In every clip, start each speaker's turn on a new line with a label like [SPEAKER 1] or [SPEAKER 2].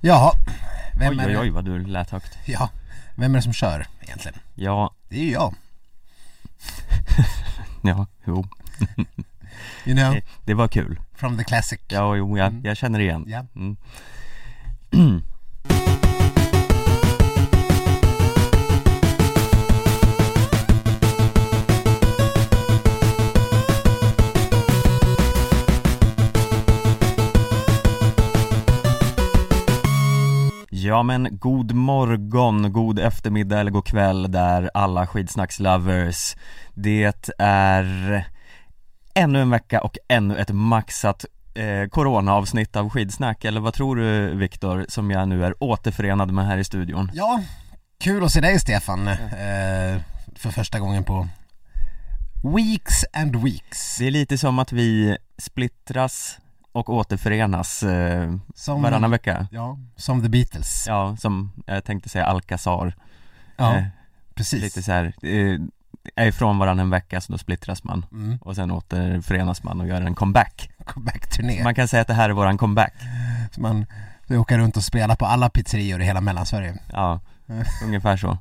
[SPEAKER 1] Jaha, vem
[SPEAKER 2] Oj,
[SPEAKER 1] är
[SPEAKER 2] oj,
[SPEAKER 1] det?
[SPEAKER 2] oj vad du lät högt.
[SPEAKER 1] Ja, vem är det som kör egentligen?
[SPEAKER 2] Ja,
[SPEAKER 1] Det är ju jag.
[SPEAKER 2] ja, jo.
[SPEAKER 1] You know,
[SPEAKER 2] Det, det var kul.
[SPEAKER 1] from the classic.
[SPEAKER 2] Eh. Ja, jo, jag, jag känner igen.
[SPEAKER 1] Ja.
[SPEAKER 2] Mm. Ja men god morgon, god eftermiddag eller god kväll där alla skidsnackslovers Det är ännu en vecka och ännu ett maxat eh, coronaavsnitt av skidsnack Eller vad tror du Viktor, som jag nu är återförenad med här i studion?
[SPEAKER 1] Ja, kul att se dig Stefan. Eh, för första gången på weeks and weeks.
[SPEAKER 2] Det är lite som att vi splittras och återförenas eh,
[SPEAKER 1] Som,
[SPEAKER 2] varannan vecka
[SPEAKER 1] Ja, som the Beatles.
[SPEAKER 2] Ja, som jag tänkte säga Alcazar
[SPEAKER 1] Ja,
[SPEAKER 2] eh,
[SPEAKER 1] precis.
[SPEAKER 2] Lite så här, eh, är ifrån varandra en vecka så då splittras man
[SPEAKER 1] Mm.
[SPEAKER 2] och sen återförenas man och gör en comeback.
[SPEAKER 1] Comeback-turné.
[SPEAKER 2] Man kan säga att det här är våran comeback.
[SPEAKER 1] Så man vi åker runt och spelar på alla pizzerior i hela mellansverige.
[SPEAKER 2] Ja,
[SPEAKER 1] Mm.
[SPEAKER 2] ungefär så.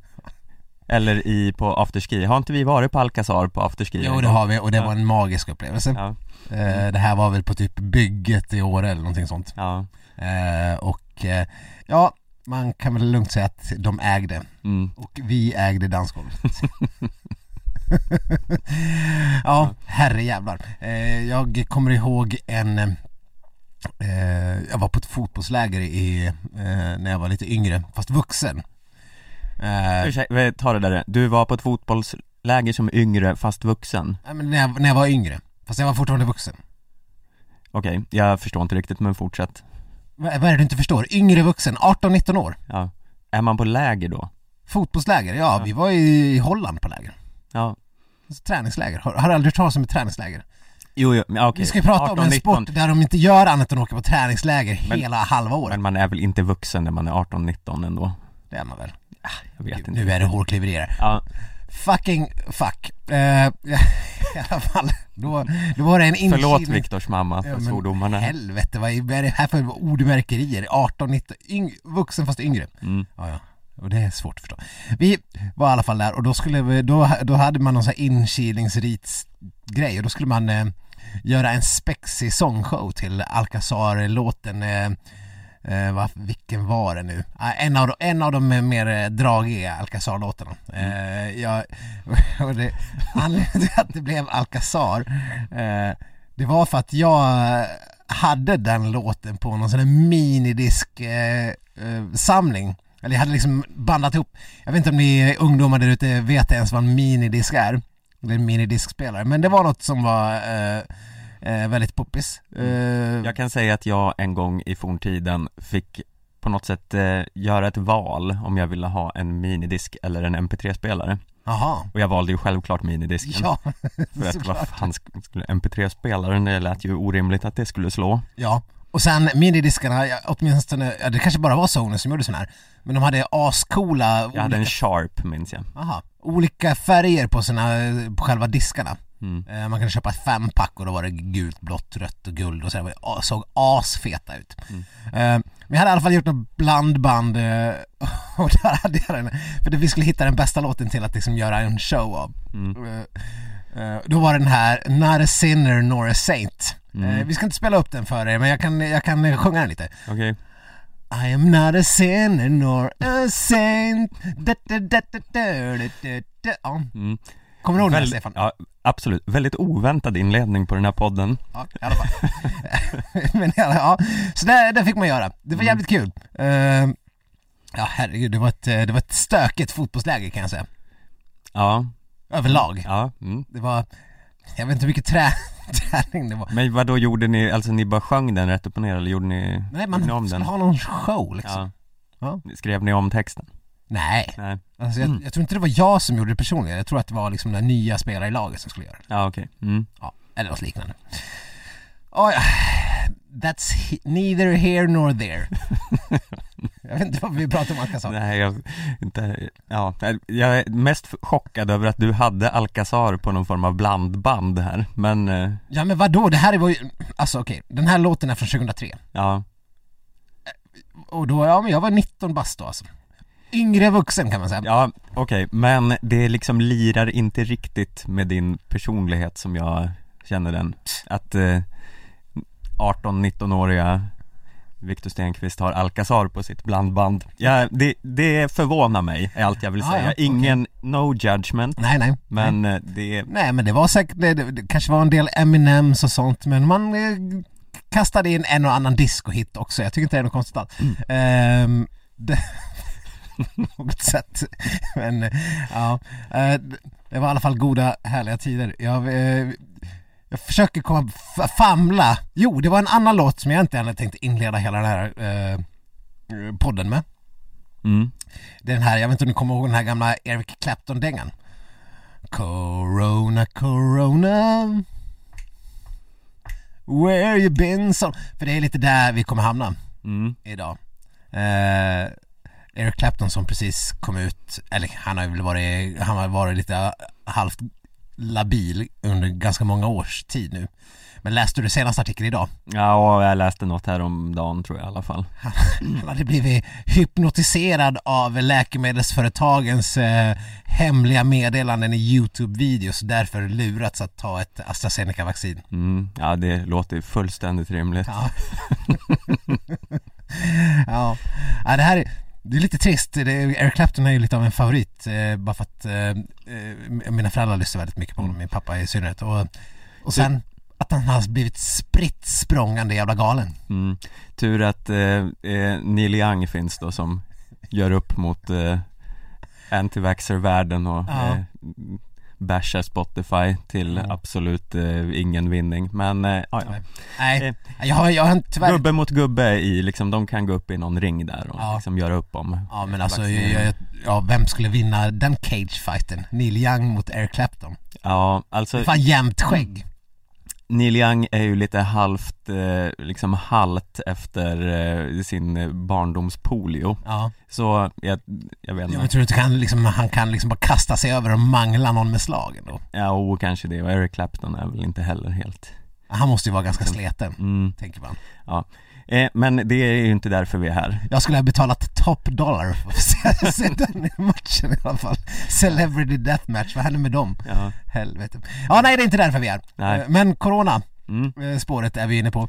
[SPEAKER 2] Eller i, på afterski. Har inte vi varit på Alcazar på afterski?
[SPEAKER 1] Jo det har vi och det
[SPEAKER 2] Ja.
[SPEAKER 1] var en magisk upplevelse.
[SPEAKER 2] Ja,
[SPEAKER 1] Eh, det här var väl på typ bygget i år eller någonting sånt.
[SPEAKER 2] ja.
[SPEAKER 1] Eh, och eh, ja, man kan väl lugnt säga att de ägde
[SPEAKER 2] Mm.
[SPEAKER 1] och vi ägde dansgolvet. ja, herrejävlar. Eh, jag kommer ihåg en eh, jag var på ett fotbollsläger i, eh, när jag var lite yngre, fast vuxen. Eh,
[SPEAKER 2] Ursäkta, vi tar det där. Du var på ett fotbollsläger som yngre fast vuxen.
[SPEAKER 1] nej, men när, jag, när jag var yngre, fast jag var fortfarande vuxen.
[SPEAKER 2] Okej, jag förstår inte riktigt men fortsätt.
[SPEAKER 1] Vad vad är det du inte förstår? Yngre vuxen, 18-19 år.
[SPEAKER 2] Ja. Är man på läger då?
[SPEAKER 1] Fotbollsläger, ja, vi var i Holland på läger.
[SPEAKER 2] Ja.
[SPEAKER 1] Träningsläger, har, har aldrig hört talas om ett träningsläger.
[SPEAKER 2] Jo, jo men okej.
[SPEAKER 1] Vi ska ju prata
[SPEAKER 2] 18,
[SPEAKER 1] om en
[SPEAKER 2] 19.
[SPEAKER 1] sport där de inte gör annat än åka på träningsläger
[SPEAKER 2] Men-
[SPEAKER 1] hela halva året.
[SPEAKER 2] Men man är väl inte vuxen när man är 18-19 ändå?
[SPEAKER 1] Det är man väl.
[SPEAKER 2] Jag vet inte.
[SPEAKER 1] Nu är det hårklyverier.
[SPEAKER 2] Ja,
[SPEAKER 1] Fucking fuck. Eh, I alla fall, då, då var det en inkilning.
[SPEAKER 2] förlåt Viktors mamma
[SPEAKER 1] Ja,
[SPEAKER 2] för
[SPEAKER 1] men
[SPEAKER 2] svordomarna.
[SPEAKER 1] Helvete, vad är det här för ordmärkerier? 18, 19, yng, vuxen fast yngre.
[SPEAKER 2] Mm.
[SPEAKER 1] Ja, ja. Och det är svårt att förstå. Vi var i alla fall där och då skulle vi, då, då hade man någon sån här inkilningsritsgrej och då skulle man eh, göra en spexig sångshow till Alcazar-låten eh, Eh, vad, vilken var det nu? Ah, en, av, de- en av de eh, mer eh, dragiga Alcazar-låtarna. Eh, jag, och det, anledningen till att det blev Alcazar, eh, det var för att jag hade den låten på någon sån här minidisk eh, eh, samling. Eller jag hade liksom bandat ihop, jag vet inte om ni ungdomar där ute vet ens vad en minidisk är. Eller en minidiskspelare, men det var något som var eh, eh, väldigt poppis. Eh,
[SPEAKER 2] Mm. Jag kan säga att jag en gång i forntiden fick på något sätt eh, göra ett val om jag ville ha en minidisk eller en mp3-spelare
[SPEAKER 1] Jaha.
[SPEAKER 2] Och jag valde ju självklart minidisken
[SPEAKER 1] Ja,
[SPEAKER 2] För att
[SPEAKER 1] såklart.
[SPEAKER 2] vad fan sk- skulle mp3-spelaren, det lät ju orimligt att det skulle slå
[SPEAKER 1] Ja, och sen minidiskarna, ja, åtminstone, ja, det kanske bara var Sony som gjorde sån här Men de hade ascoola,
[SPEAKER 2] Jag hade
[SPEAKER 1] olika,
[SPEAKER 2] en sharp minns jag
[SPEAKER 1] aha, olika färger på sina, på själva diskarna
[SPEAKER 2] mm.
[SPEAKER 1] eh, Man kunde köpa ett fempack och då var det gult, blått, rött och guld och så där, Det var- såg asfeta ut
[SPEAKER 2] Mm.
[SPEAKER 1] eh, Vi hade i alla fall gjort något blandband eh, och där hade jag den, för vi skulle hitta den bästa låten till att liksom göra en show av
[SPEAKER 2] Mm.
[SPEAKER 1] Eh, eh, Då var den här Not a sinner nor a saint
[SPEAKER 2] Mm.
[SPEAKER 1] eh, Vi ska inte spela upp den för er men jag kan, jag kan eh, sjunga den lite
[SPEAKER 2] Okej,
[SPEAKER 1] I am not a sinner nor a saint da, da, da, da, da, da, da, da. Ja.
[SPEAKER 2] mm.
[SPEAKER 1] Kommer du ihåg den här
[SPEAKER 2] Väl-
[SPEAKER 1] Stefan?
[SPEAKER 2] ja, absolut, väldigt oväntad inledning på den här podden
[SPEAKER 1] Ja, i alla fall. Men i alla- ja, så där, där fick man göra. Det var
[SPEAKER 2] Mm.
[SPEAKER 1] jävligt kul. Eh, ja herregud, det var, ett, eh, det var ett stökigt fotbollsläger kan jag säga.
[SPEAKER 2] Ja,
[SPEAKER 1] Överlag.
[SPEAKER 2] ja, mm.
[SPEAKER 1] Det var, jag vet inte hur mycket trä, träning det var.
[SPEAKER 2] Men vad då gjorde ni, alltså ni bara sjöng den rätt upp och ner eller gjorde ni,
[SPEAKER 1] Nej,
[SPEAKER 2] gjorde ni om
[SPEAKER 1] man
[SPEAKER 2] den?
[SPEAKER 1] skulle ha någon show liksom.
[SPEAKER 2] ja.
[SPEAKER 1] Ja.
[SPEAKER 2] Skrev ni om texten?
[SPEAKER 1] Nej,
[SPEAKER 2] Nej,
[SPEAKER 1] alltså, jag,
[SPEAKER 2] Mm.
[SPEAKER 1] jag tror inte det var jag som gjorde det personligen. Jag tror att det var liksom den nya spelare i laget som skulle göra det.
[SPEAKER 2] ja okej, mm.
[SPEAKER 1] Ja, eller något liknande. Oh, ja. That's he- neither here nor there. jag vet inte vad vi pratar om Alcazar.
[SPEAKER 2] Nej, jag, inte, ja, jag är mest chockad över att du hade Alcazar på någon form av blandband här, men eh,
[SPEAKER 1] Ja men vadå, det här var ju, alltså okej, den här låten är från 2003.
[SPEAKER 2] ja,
[SPEAKER 1] Och då, ja men jag var 19 bast då alltså. Yngre vuxen kan man säga.
[SPEAKER 2] Ja, okej, men det liksom lirar inte riktigt med din personlighet som jag känner den Att eh, 18-19-åriga Victor Stenqvist har Alcazar på sitt blandband Ja, det, det förvånar mig, är allt jag vill
[SPEAKER 1] Ah,
[SPEAKER 2] säga
[SPEAKER 1] ja, okej.
[SPEAKER 2] Ingen, no judgment
[SPEAKER 1] Nej, nej.
[SPEAKER 2] Men eh, det,
[SPEAKER 1] Nej men det var säkert, det, det, det kanske var en del Eminems och sånt men man eh, kastade in en och annan discohit också. Jag tycker inte det är något konstigt alls. Ehm, det, på något sätt. Men eh, ja, eh, det- det var i alla fall goda härliga tider. Jag, eh, jag försöker komma, f- famla. Jo, det var en annan låt som jag inte hade tänkt inleda hela den här eh, podden med.
[SPEAKER 2] mm,
[SPEAKER 1] Det är den här, jag vet inte om ni kommer ihåg den här gamla Eric Clapton-dängan? Corona, corona Where you been son? För det är lite där vi kommer hamna
[SPEAKER 2] mm,
[SPEAKER 1] idag eh, Eric Clapton som precis kom ut, eller han har ju väl varit, han har varit lite eh, halvt labil under ganska många års tid nu Men läste du senaste artikeln idag?
[SPEAKER 2] ja och jag läste något häromdagen tror jag i alla fall
[SPEAKER 1] Han hade blivit hypnotiserad av läkemedelsföretagens eh, hemliga meddelanden i YouTube-videos därför lurats att ta ett AstraZeneca-vaccin.
[SPEAKER 2] mm, Ja, det låter ju fullständigt rimligt
[SPEAKER 1] Ja. ja. ja, det här är, det är lite trist. Det, Eric Clapton är ju lite av en favorit eh, bara för att eh, eh, mina föräldrar lyssnar väldigt mycket på honom, min pappa i synnerhet. Och, och sen att han har blivit spritt språngande jävla galen.
[SPEAKER 2] Mm. Tur att eh, eh, Neil Young finns då som gör upp mot eh, antivaxxer-världen och
[SPEAKER 1] Ja.
[SPEAKER 2] eh, bashar Spotify till
[SPEAKER 1] Mm.
[SPEAKER 2] absolut eh, ingen vinning Men, eh, ja, ja.
[SPEAKER 1] Nej, jag har, jag har tyvärr
[SPEAKER 2] gubbe mot gubbe i liksom, de kan gå upp i någon ring där och
[SPEAKER 1] Ja.
[SPEAKER 2] liksom göra upp om
[SPEAKER 1] Ja men alltså,
[SPEAKER 2] Vaccin.
[SPEAKER 1] jag, jag, ja, vem skulle vinna den cage-fighten? Neil Young mot Eric Clapton?
[SPEAKER 2] Ja,
[SPEAKER 1] Det är
[SPEAKER 2] alltså
[SPEAKER 1] fan jämnt skägg!
[SPEAKER 2] Neil Young är ju lite halvt, eh, liksom halt efter eh, sin eh, barndomspolio
[SPEAKER 1] Ja,
[SPEAKER 2] Så, jag, jag
[SPEAKER 1] jag
[SPEAKER 2] vet inte
[SPEAKER 1] men tror du inte han, liksom, han kan liksom bara kasta sig över och mangla någon med slagen då?
[SPEAKER 2] Ja, och kanske det. Och Eric Clapton är väl inte heller helt...
[SPEAKER 1] Han måste ju vara ganska sleten,
[SPEAKER 2] Mm.
[SPEAKER 1] tänker man.
[SPEAKER 2] Eh, men det är ju inte därför vi är här.
[SPEAKER 1] Jag skulle ha betalat top dollar för att se- se den matchen i alla fall. Celebrity Deathmatch, vad händer med dem?
[SPEAKER 2] Ja.
[SPEAKER 1] Helvete. Ja, nej det är inte därför vi är
[SPEAKER 2] Nej.
[SPEAKER 1] Eh, Men Corona,
[SPEAKER 2] Mm.
[SPEAKER 1] eh, spåret är vi inne på.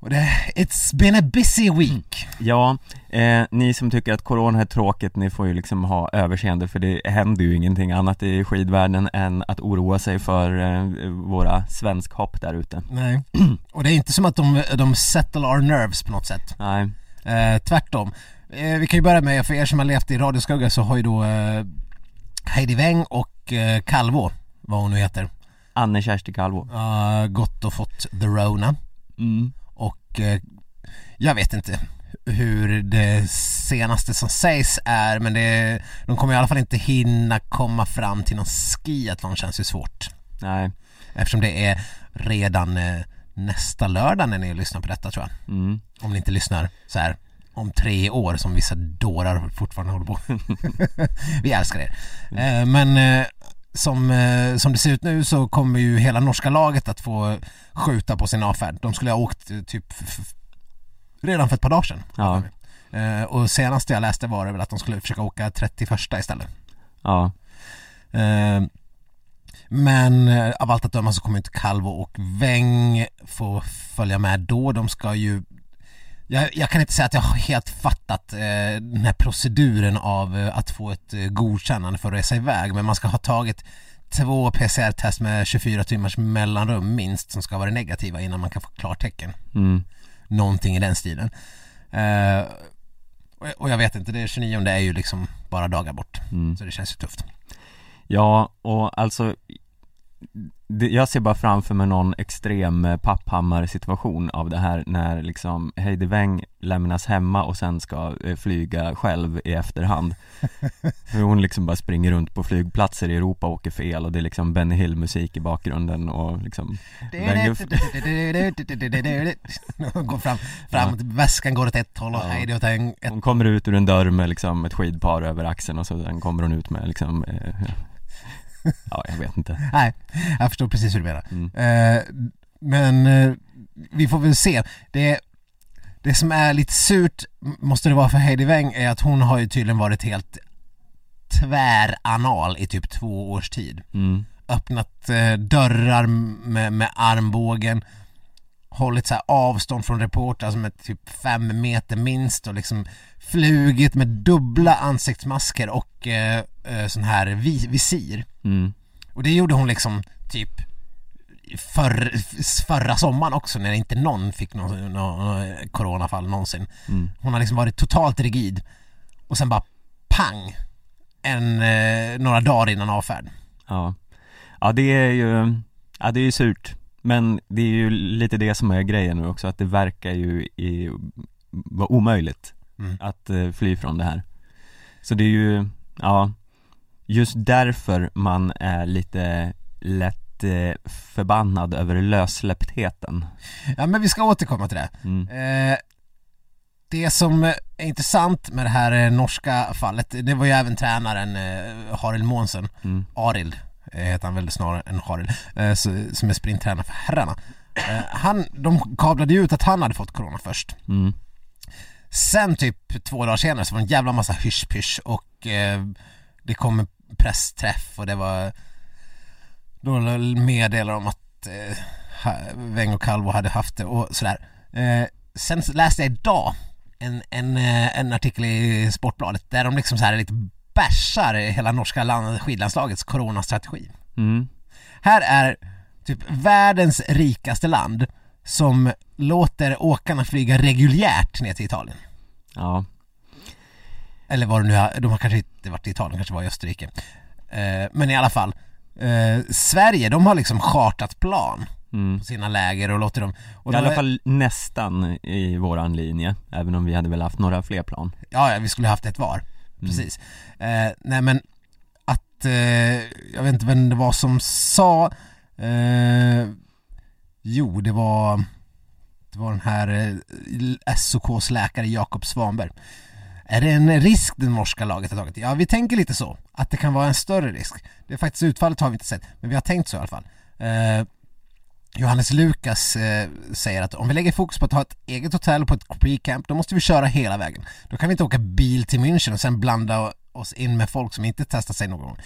[SPEAKER 1] Och det, it's been a busy week.
[SPEAKER 2] Ja, eh, ni som tycker att corona är tråkigt, ni får ju liksom ha överseende för det händer ju ingenting annat i skidvärlden än att oroa sig för eh, våra svenskhopp där ute.
[SPEAKER 1] Nej. Och det är inte som att de, de settle our nerves på något sätt.
[SPEAKER 2] Nej,
[SPEAKER 1] Eh, tvärtom. Eh, vi kan ju börja med, för er som har levt i radioskugga så har ju då eh, Heidi Weng och eh, Kalvå, vad hon nu heter,
[SPEAKER 2] Anne Kersti Kalvo.
[SPEAKER 1] eh, gått och fått the Rona.
[SPEAKER 2] Mm.
[SPEAKER 1] Och eh, jag vet inte hur det senaste som sägs är men det, de kommer i alla fall inte hinna komma fram till någon skiathlon känns ju svårt.
[SPEAKER 2] Nej.
[SPEAKER 1] Eftersom det är redan eh, nästa lördag när ni lyssnar på detta tror jag.
[SPEAKER 2] Mm.
[SPEAKER 1] Om ni inte lyssnar så här om tre år som vissa dårar fortfarande håller på. Vi älskar er. Eh, Men eh, som, eh, som det ser ut nu så kommer ju hela norska laget att få skjuta på sin avfärd. De skulle ha åkt eh, typ f- f- redan för ett par dagar sedan.
[SPEAKER 2] Ja.
[SPEAKER 1] Eh, Och senast jag läste var det väl att de skulle försöka åka 31 istället.
[SPEAKER 2] Ja.
[SPEAKER 1] Eh, Men eh, av allt att döma så kommer inte Kalvo och Weng få följa med då. De ska ju... Jag, jag kan inte säga att jag har helt fattat eh, den här proceduren av eh, att få ett eh, godkännande för att resa iväg. Men man ska ha tagit två PCR-test med 24 timmars mellanrum minst som ska vara negativa innan man kan få klartecken.
[SPEAKER 2] Mm.
[SPEAKER 1] Någonting i den stilen. Eh, och jag- och jag vet inte, det är 29 det är ju liksom bara dagar bort.
[SPEAKER 2] Mm.
[SPEAKER 1] Så det känns ju tufft.
[SPEAKER 2] Ja, och alltså det- jag ser bara framför mig någon extrem eh, Papphammar-situation av det här när liksom Heidi Weng lämnas hemma och sen ska eh, flyga själv i efterhand Hur Hon liksom bara springer runt på flygplatser i Europa och åker fel och det är liksom Benny Hill-musik i bakgrunden och liksom
[SPEAKER 1] Går fram, fram väskan går åt ett håll och
[SPEAKER 2] Ja.
[SPEAKER 1] Heidi åt en, ett,
[SPEAKER 2] Hon kommer ut ur en dörr med liksom ett skidpar över axeln och så sen kommer hon ut med liksom eh, Ja, jag vet inte
[SPEAKER 1] nej, jag förstår Eh, precis hur du menar.
[SPEAKER 2] Mm.
[SPEAKER 1] Eh, men eh, vi får väl se. Det, Det som är lite surt, m- måste det vara för Heidi Weng, är att hon har ju tydligen varit helt tväranal i typ två års tid.
[SPEAKER 2] Mm.
[SPEAKER 1] Öppnat eh, dörrar med, med armbågen, hållit så här avstånd från reportrar som är typ fem meter minst och liksom flugit med dubbla ansiktsmasker och eh, eh, sån här vi- visir.
[SPEAKER 2] Mm.
[SPEAKER 1] Och det gjorde hon liksom typ förr- förra sommaren också när inte någon fick någon, någon coronafall någonsin.
[SPEAKER 2] Mm.
[SPEAKER 1] Hon har liksom varit totalt rigid och sen bara pang! En, eh, några dagar innan avfärd.
[SPEAKER 2] Ja. ja, det är ju, ja det är ju surt Men det är ju lite det som är grejen nu också, att det verkar ju i, vara omöjligt
[SPEAKER 1] Mm.
[SPEAKER 2] att eh, fly från det här Så det är ju, ja Just därför man är lite lätt eh, förbannad över lössläpptheten
[SPEAKER 1] Ja men vi ska återkomma till det.
[SPEAKER 2] mm.
[SPEAKER 1] Eh, det som är intressant med det här eh, norska fallet, det var ju även tränaren eh, Harild Månsen
[SPEAKER 2] Mm.
[SPEAKER 1] Arild eh, heter han väl snarare än Harild, eh, så- som är sprinttränare för herrarna. Eh, Han, de kablade ju ut att han hade fått corona först.
[SPEAKER 2] Mm.
[SPEAKER 1] Sen typ två dagar senare så var det en jävla massa hysch-pysch och eh, det kom en pressträff och det var då meddelade de att eh, Ha- Weng och Calvo hade haft det och sådär. Eh, sen så läste jag idag en, en, eh, en artikel i Sportbladet där de liksom så här lite bärsar hela norska land, skidlandslagets coronastrategi.
[SPEAKER 2] Mm.
[SPEAKER 1] Här är typ världens rikaste land som låter åkarna flyga reguljärt ner till Italien.
[SPEAKER 2] Ja,
[SPEAKER 1] Eller var det nu, har- de har kanske inte varit i Italien, kanske var i Österrike. Eh, men i alla fall, eh, Sverige, de har liksom chartat plan
[SPEAKER 2] mm.
[SPEAKER 1] på sina läger och låter dem... Och
[SPEAKER 2] I
[SPEAKER 1] de,
[SPEAKER 2] alla fall nästan i våran linje, även om vi hade väl haft några fler plan Mm.
[SPEAKER 1] Ja, ja, vi skulle haft ett var. Precis. Eh, nej men, att, eh, jag vet inte vem det var som sa, eh, jo det var, det var den här eh, SOKs läkare Jakob Svanberg. Är det en risk det norska laget har tagit? Ja, vi tänker lite så, att det kan vara en större risk. Det är faktiskt utfallet har vi inte sett, men vi har tänkt så i alla fall. Eh, Johannes Lukas eh, säger att om vi lägger fokus på att ha ett eget hotell på ett pre-camp, då måste vi köra hela vägen. Då kan vi inte åka bil till München och sen blanda oss in med folk som inte testat sig någon gång.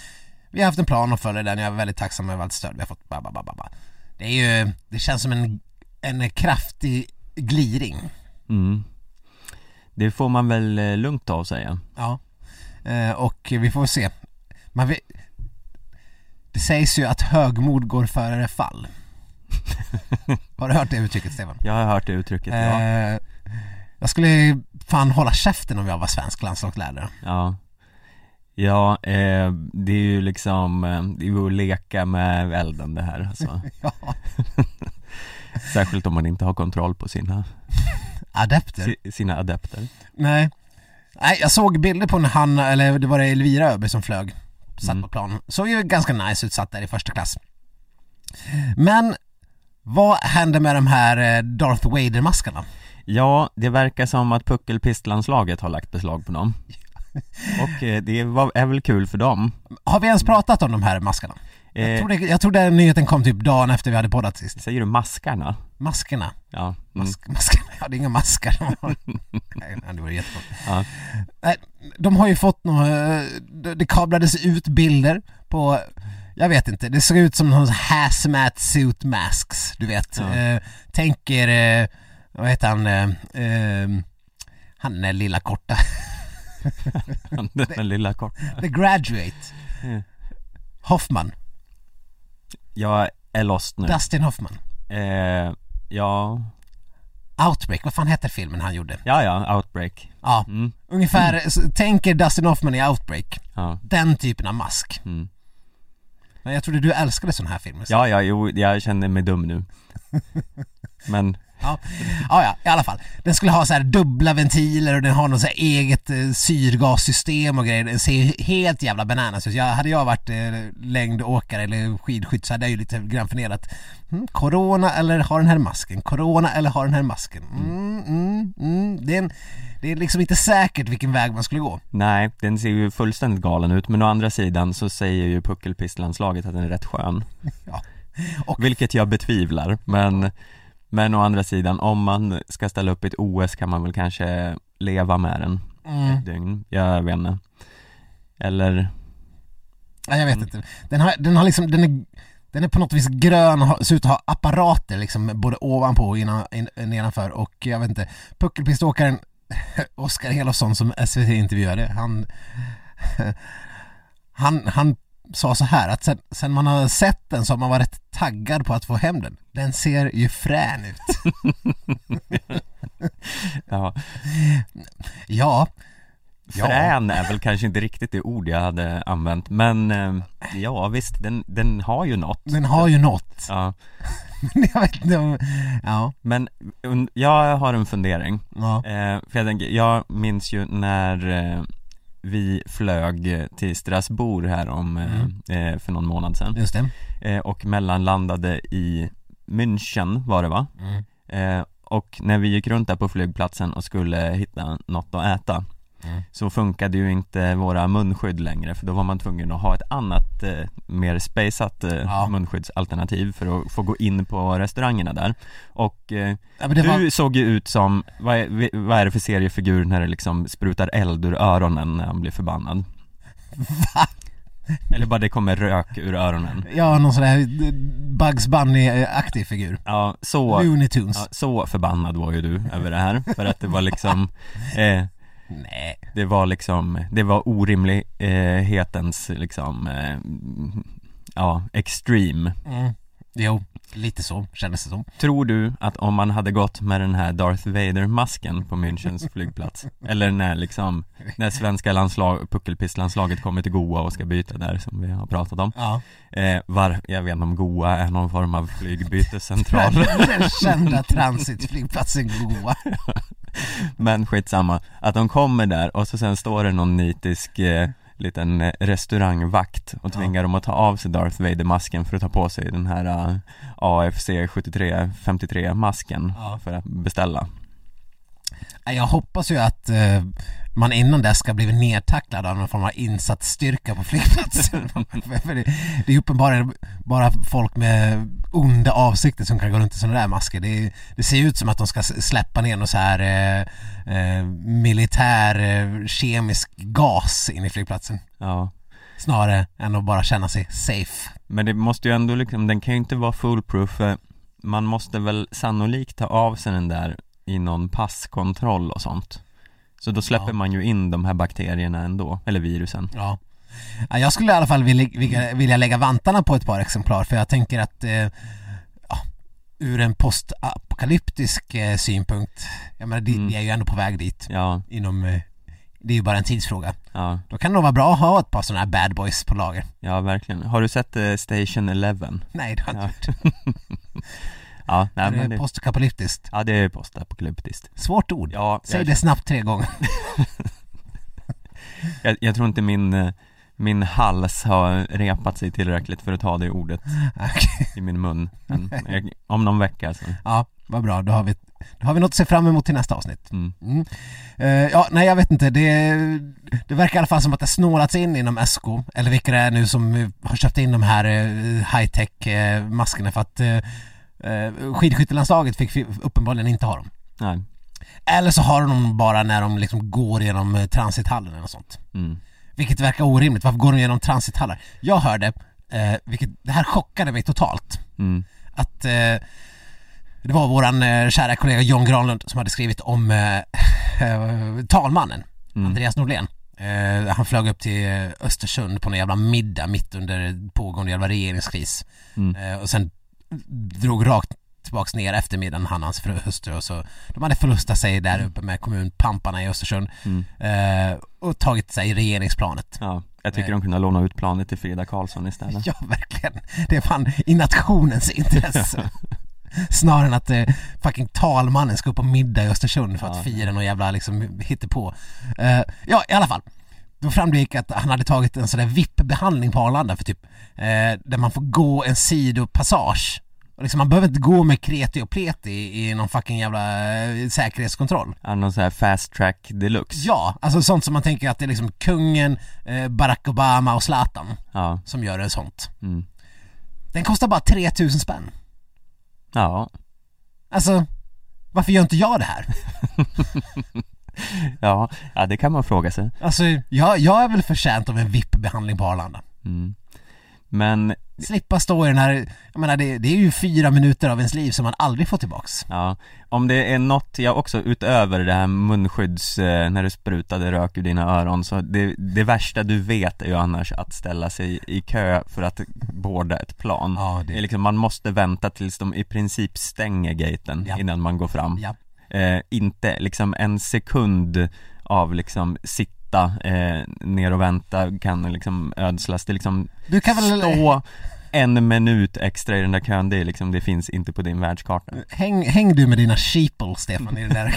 [SPEAKER 1] Vi har haft en plan och följer den, jag är väldigt tacksam över allt stöd vi har fått. Ba, ba, ba, ba, ba. Det är ju, det känns som en, en kraftig gliring.
[SPEAKER 2] Mm. Det får man väl eh, lugnt ta och säga.
[SPEAKER 1] Ja. Eh, och vi får se. Man vet, det sägs ju att högmod går före fall. har du hört det uttrycket Stefan?
[SPEAKER 2] Jag har hört det uttrycket, ja.
[SPEAKER 1] Eh, jag skulle fan hålla käften om jag var svensk landslagslärare.
[SPEAKER 2] Ja, ja eh, det är ju liksom, eh, det är ju att leka med elden det här alltså.
[SPEAKER 1] Ja,
[SPEAKER 2] Särskilt om man inte har kontroll på sina,
[SPEAKER 1] adepter.
[SPEAKER 2] si- sina adepter.
[SPEAKER 1] Nej. Nej, jag såg bilder på när han, eller det var det Elvira Öberg som flög. Satt
[SPEAKER 2] Mm.
[SPEAKER 1] på plan. Såg ju ganska nice ut, satt där i första klass. Men, vad hände med de här eh, Darth Vader-maskarna?
[SPEAKER 2] Ja, det verkar som att puckelpistlandslaget har lagt beslag på dem. Och eh, det var, är väl kul för dem.
[SPEAKER 1] Har vi ens pratat om de här maskarna? Jag
[SPEAKER 2] Eh,
[SPEAKER 1] tror, det, jag tror den nyheten kom typ dagen efter vi hade poddat sist.
[SPEAKER 2] säger du maskarna?
[SPEAKER 1] Maskerna.
[SPEAKER 2] Ja, mm.
[SPEAKER 1] Mask, Maskarna? Ja, det är inga maskar. Nej, nej, det var jättebra.
[SPEAKER 2] Ja.
[SPEAKER 1] Nej, de har ju fått några, det- det kablades ut bilder på, jag vet inte, det såg ut som någon hazmat suit masks, du vet.
[SPEAKER 2] Ja.
[SPEAKER 1] Eh, tänker, eh, vad heter han, eh, eh, han är lilla korta,
[SPEAKER 2] den där lilla kort.
[SPEAKER 1] The Graduate.
[SPEAKER 2] Mm.
[SPEAKER 1] Hoffman,
[SPEAKER 2] Jag är lost nu.
[SPEAKER 1] Dustin Hoffman.
[SPEAKER 2] Eh, ja,
[SPEAKER 1] Outbreak, vad fan heter filmen han gjorde?
[SPEAKER 2] ja, ja, outbreak.
[SPEAKER 1] Ja,
[SPEAKER 2] Mm.
[SPEAKER 1] ungefär, så tänker Dustin Hoffman i Outbreak.
[SPEAKER 2] Ja,
[SPEAKER 1] Den typen av mask.
[SPEAKER 2] mm.
[SPEAKER 1] Men jag trodde du älskade sådana här filmer.
[SPEAKER 2] ja, ja, jo, jag känner mig dum nu. Men,
[SPEAKER 1] Ja. ja, ja, i alla fall. Den skulle ha så här dubbla ventiler och den har något så här eget eh, syrgassystem och grejer. Den ser ju helt jävla bananas ut. Jag, hade jag varit eh, längdåkare eller skidskytt så hade jag ju lite grann funderat. Mm, corona eller har den här masken? Corona eller har den här masken? Mm, mm, mm. Det, är en, det är liksom inte säkert vilken väg man skulle gå.
[SPEAKER 2] nej, den ser ju fullständigt galen ut, men å andra sidan så säger ju puckelpistlandslaget att den är rätt skön.
[SPEAKER 1] Ja. Och-
[SPEAKER 2] Vilket jag betvivlar, men Men å andra sidan, om man ska ställa upp i ett OS kan man väl kanske leva med den
[SPEAKER 1] Mm.
[SPEAKER 2] ett dygn, jag vet inte Eller,
[SPEAKER 1] Nej, jag vet
[SPEAKER 2] Mm.
[SPEAKER 1] inte. Den har, den har liksom, den är, den är på något vis grön och har- ser ut att ha apparater liksom både ovanpå och innan, in, nedanför och jag vet inte. Puckelpiståkaren Oskar Elofsson som SVT intervjuade, han, han, han sa så här att sen, sen man har sett den så har man varit taggad på att få hem den. Den ser ju frän ut.
[SPEAKER 2] ja,
[SPEAKER 1] Ja, Ja.
[SPEAKER 2] frän är väl kanske inte riktigt det ord jag hade använt Men, eh, ja visst, den, den har ju något
[SPEAKER 1] den har ju något.
[SPEAKER 2] ja.
[SPEAKER 1] jag vet inte om, ja,
[SPEAKER 2] Men un- jag har en fundering
[SPEAKER 1] ja.
[SPEAKER 2] Eh, för jag tänker, jag minns ju när eh, vi flög till Strasbourg här om, eh, eh, för någon månad sedan
[SPEAKER 1] Just det.
[SPEAKER 2] eh, och mellanlandade i München var det va?
[SPEAKER 1] Mm.
[SPEAKER 2] Eh, och när vi gick runt där på flygplatsen och skulle hitta något att äta
[SPEAKER 1] Mm.
[SPEAKER 2] så funkade ju inte våra munskydd längre för då var man tvungen att ha ett annat, eh, mer spejsat eh,
[SPEAKER 1] Ja.
[SPEAKER 2] munskyddsalternativ för att få gå in på restaurangerna där och eh,
[SPEAKER 1] Ja, men det
[SPEAKER 2] du
[SPEAKER 1] var,
[SPEAKER 2] såg ju ut som, vad är, vi- vad är det för seriefigur när det liksom sprutar eld ur öronen när han blir förbannad?
[SPEAKER 1] Va?
[SPEAKER 2] Eller bara det kommer rök ur öronen
[SPEAKER 1] ja, någon sån där eh, Bugs Bunny-aktig figur.
[SPEAKER 2] Ja, så,
[SPEAKER 1] Looney Tunes.
[SPEAKER 2] ja, så förbannad var ju du över det här för att det var liksom eh,
[SPEAKER 1] Nej.
[SPEAKER 2] Det var liksom, det var orimlighetens liksom, eh, ja, extreme
[SPEAKER 1] Mm. Jo, lite så kändes det som.
[SPEAKER 2] Tror du att om man hade gått med den här Darth Vader-masken på Münchens flygplats Eller när liksom, när svenska landslag, puckelpistlandslaget kommer till Goa och ska byta där som vi har pratat om
[SPEAKER 1] Ja.
[SPEAKER 2] eh, var, Jag vet inte om Goa är någon form av flygbytescentral
[SPEAKER 1] Den kända transitflygplatsen Goa.
[SPEAKER 2] Men skitsamma, att de kommer där och så sen står det någon nitisk eh, liten eh, restaurangvakt och
[SPEAKER 1] Ja.
[SPEAKER 2] tvingar dem att ta av sig Darth Vader-masken för att ta på sig den här eh, AFC 7353-masken
[SPEAKER 1] Ja.
[SPEAKER 2] för att beställa
[SPEAKER 1] Nej, Jag hoppas ju att eh, man innan dess ska bli nedtacklad av någon form av insatt styrka på flygplatsen. För- för det, det är uppenbarligen bara folk med onda avsikter som kan gå runt i sådana där masker. Det, det ser ju ut som att de ska s- släppa ner någon så här eh, eh, militär eh, kemisk gas in i flygplatsen.
[SPEAKER 2] Ja,
[SPEAKER 1] Snarare än att bara känna sig safe.
[SPEAKER 2] men det måste ju ändå liksom, den kan ju inte vara foolproof för man måste väl sannolikt ta av sig den där i någon passkontroll och sånt Så då släpper
[SPEAKER 1] Ja.
[SPEAKER 2] man ju in de här bakterierna ändå, eller virusen
[SPEAKER 1] Ja. Ja, Jag skulle i alla fall vilja, vilja- vilja lägga vantarna på ett par exemplar för jag tänker att eh, ja, ur en postapokalyptisk eh, synpunkt, jag menar, det,
[SPEAKER 2] Mm.
[SPEAKER 1] vi är ju ändå på väg dit
[SPEAKER 2] Ja,
[SPEAKER 1] inom, eh, det är ju bara en tidsfråga.
[SPEAKER 2] ja
[SPEAKER 1] Då kan det nog vara bra att ha ett par sådana här bad boys på lager.
[SPEAKER 2] Ja, verkligen. Har du sett eh, Station 11?
[SPEAKER 1] Nej, det har jag inte gjort.
[SPEAKER 2] Ja, nej,
[SPEAKER 1] Är
[SPEAKER 2] men
[SPEAKER 1] det
[SPEAKER 2] det,
[SPEAKER 1] postapokalyptiskt.
[SPEAKER 2] ja, det är postapokalyptiskt.
[SPEAKER 1] Svårt ord.
[SPEAKER 2] Ja,
[SPEAKER 1] Säg
[SPEAKER 2] jag,
[SPEAKER 1] det snabbt tre gånger.
[SPEAKER 2] Jag, jag tror inte min, eh, min hals har repat sig tillräckligt för att ta det ordet
[SPEAKER 1] Okej.
[SPEAKER 2] i min mun. Men jag, om någon vecka så.
[SPEAKER 1] Ja, vad bra. Då har, vi, då har vi något att se fram emot till nästa avsnitt.
[SPEAKER 2] Mm.
[SPEAKER 1] Mm. Eh, ja, nej jag vet inte. Det, det verkar i alla fall som att det snålats in inom SK, eller vilka det är nu som eh, har köpt in de här eh, high-tech eh, maskerna för att eh, eh, skidskyttelandslaget fick fi- uppenbarligen inte ha dem.
[SPEAKER 2] Nej.
[SPEAKER 1] Eller så har de dem bara när de liksom går genom eh, transithallen eller något sånt.
[SPEAKER 2] Mm.
[SPEAKER 1] Vilket verkar orimligt, varför går de genom transithallar? Jag hörde, eh, vilket, det här chockade mig totalt
[SPEAKER 2] Mm.
[SPEAKER 1] att eh, det var våran eh, kära kollega John Granlund som hade skrivit om eh, eh, talmannen,
[SPEAKER 2] Mm.
[SPEAKER 1] Andreas Norlén. Eh, han flög upp till eh, Östersund på någon jävla middag mitt under pågående jävla regeringskris.
[SPEAKER 2] Mm.
[SPEAKER 1] Eh, och sen drog rakt tillbaks ner eftermiddagen han och hans fru hustru och så de hade förlustat sig där uppe med kommunpamparna i Östersund
[SPEAKER 2] Mm.
[SPEAKER 1] eh, och tagit sig i regeringsplanet.
[SPEAKER 2] Ja, jag tycker de kunde låna ut planet till Frida Karlsson istället.
[SPEAKER 1] Ja, verkligen. Det är fan i nationens intresse. Snarare än att eh, fucking talmannen ska upp på middag i Östersund för att
[SPEAKER 2] Ja.
[SPEAKER 1] fira någon jävla liksom hittepå. Eh, ja, i alla fall. Då framgick att han hade tagit en sån där VIP-behandling på Arlanda för typ, eh, där man får gå en sidopassage. Och liksom, man behöver inte gå med kreti och pleti i, i någon fucking jävla eh, säkerhetskontroll.
[SPEAKER 2] Ja, Någon sån här fast track deluxe.
[SPEAKER 1] Ja, alltså sånt som man tänker att det är liksom kungen, eh, Barack Obama och Zlatan
[SPEAKER 2] Ja.
[SPEAKER 1] som gör det sånt.
[SPEAKER 2] Mm.
[SPEAKER 1] Den kostar bara 3000 spänn.
[SPEAKER 2] Ja.
[SPEAKER 1] Alltså, varför gör inte jag det här?
[SPEAKER 2] Ja, ja det kan man fråga sig.
[SPEAKER 1] Alltså, jag, jag är väl förtjänt av en VIP-behandling på Arlanda.
[SPEAKER 2] Mm. Men,
[SPEAKER 1] Slippa stå i den här, jag menar det, det är ju fyra minuter av ens liv som man aldrig får tillbaks.
[SPEAKER 2] ja, om det är något jag också utöver det här munskydds, eh, när du sprutade rök ur dina öron, så det, det värsta du vet är ju annars att ställa sig i kö för att boarda ett plan.
[SPEAKER 1] Ja,
[SPEAKER 2] Det är
[SPEAKER 1] det,
[SPEAKER 2] liksom, man måste vänta tills de i princip stänger gaten
[SPEAKER 1] Ja.
[SPEAKER 2] innan man går fram.
[SPEAKER 1] ja.
[SPEAKER 2] Eh, inte liksom en sekund av liksom sitta eh, ner och vänta kan liksom ödslas. Det är liksom
[SPEAKER 1] Du kan väl
[SPEAKER 2] stå en minut extra i den där kön, det är liksom, det finns inte på din världskarta.
[SPEAKER 1] Häng, häng du med dina sheeples Stefan i den där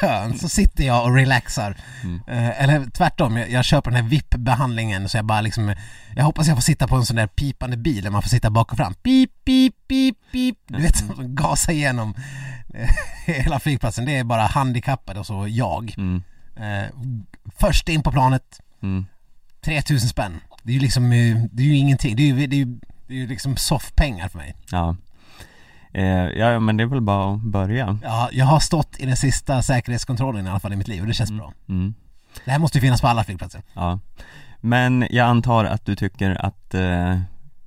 [SPEAKER 1] kön så sitter jag och relaxar.
[SPEAKER 2] Mm.
[SPEAKER 1] Eh, eller tvärtom, jag, jag köper den här VIP-behandlingen så jag bara liksom, jag hoppas jag får sitta på en sån där pipande bil där man får sitta bak och fram. Pip, pip, pip, pip. Du vet,
[SPEAKER 2] Mm.
[SPEAKER 1] som gasar igenom eh, hela flygplatsen. Det är bara handikappade och så jag.
[SPEAKER 2] Mm,
[SPEAKER 1] Eh, först in på planet,
[SPEAKER 2] mm,
[SPEAKER 1] 3000 spänn. Det är ju liksom, eh, det är ju ingenting. Det är ju, det är ju, det är ju liksom soffpengar för mig.
[SPEAKER 2] ja. Eh, ja, men det är väl bara att börja.
[SPEAKER 1] Ja, jag har stått i den sista säkerhetskontrollen i alla fall i mitt liv och det känns bra.
[SPEAKER 2] Mm,
[SPEAKER 1] Det här måste ju finnas på alla flygplatser.
[SPEAKER 2] ja. Men jag antar att du tycker att eh,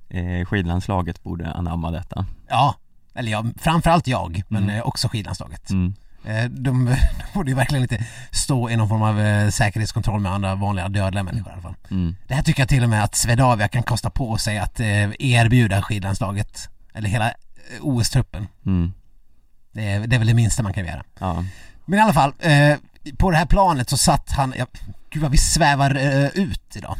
[SPEAKER 2] eh, skidlandslaget borde anamma detta.
[SPEAKER 1] Ja, eller ja, framförallt jag, men
[SPEAKER 2] Mm.
[SPEAKER 1] eh, också skidlandslaget.
[SPEAKER 2] Mm.
[SPEAKER 1] Eh, De, de borde ju verkligen inte stå i någon form av eh, säkerhetskontroll med andra vanliga dödliga människor i alla fall.
[SPEAKER 2] Mm.
[SPEAKER 1] Det här tycker jag till och med att Swedavia kan kosta på sig att eh, erbjuda skidlandslaget, eller hela eh, OS-truppen.
[SPEAKER 2] Mm.
[SPEAKER 1] Det är, det är väl det minsta man kan göra.
[SPEAKER 2] Ja.
[SPEAKER 1] Men i alla fall, eh, på det här planet så satt han, ja, gud vad vi svävar eh, ut idag.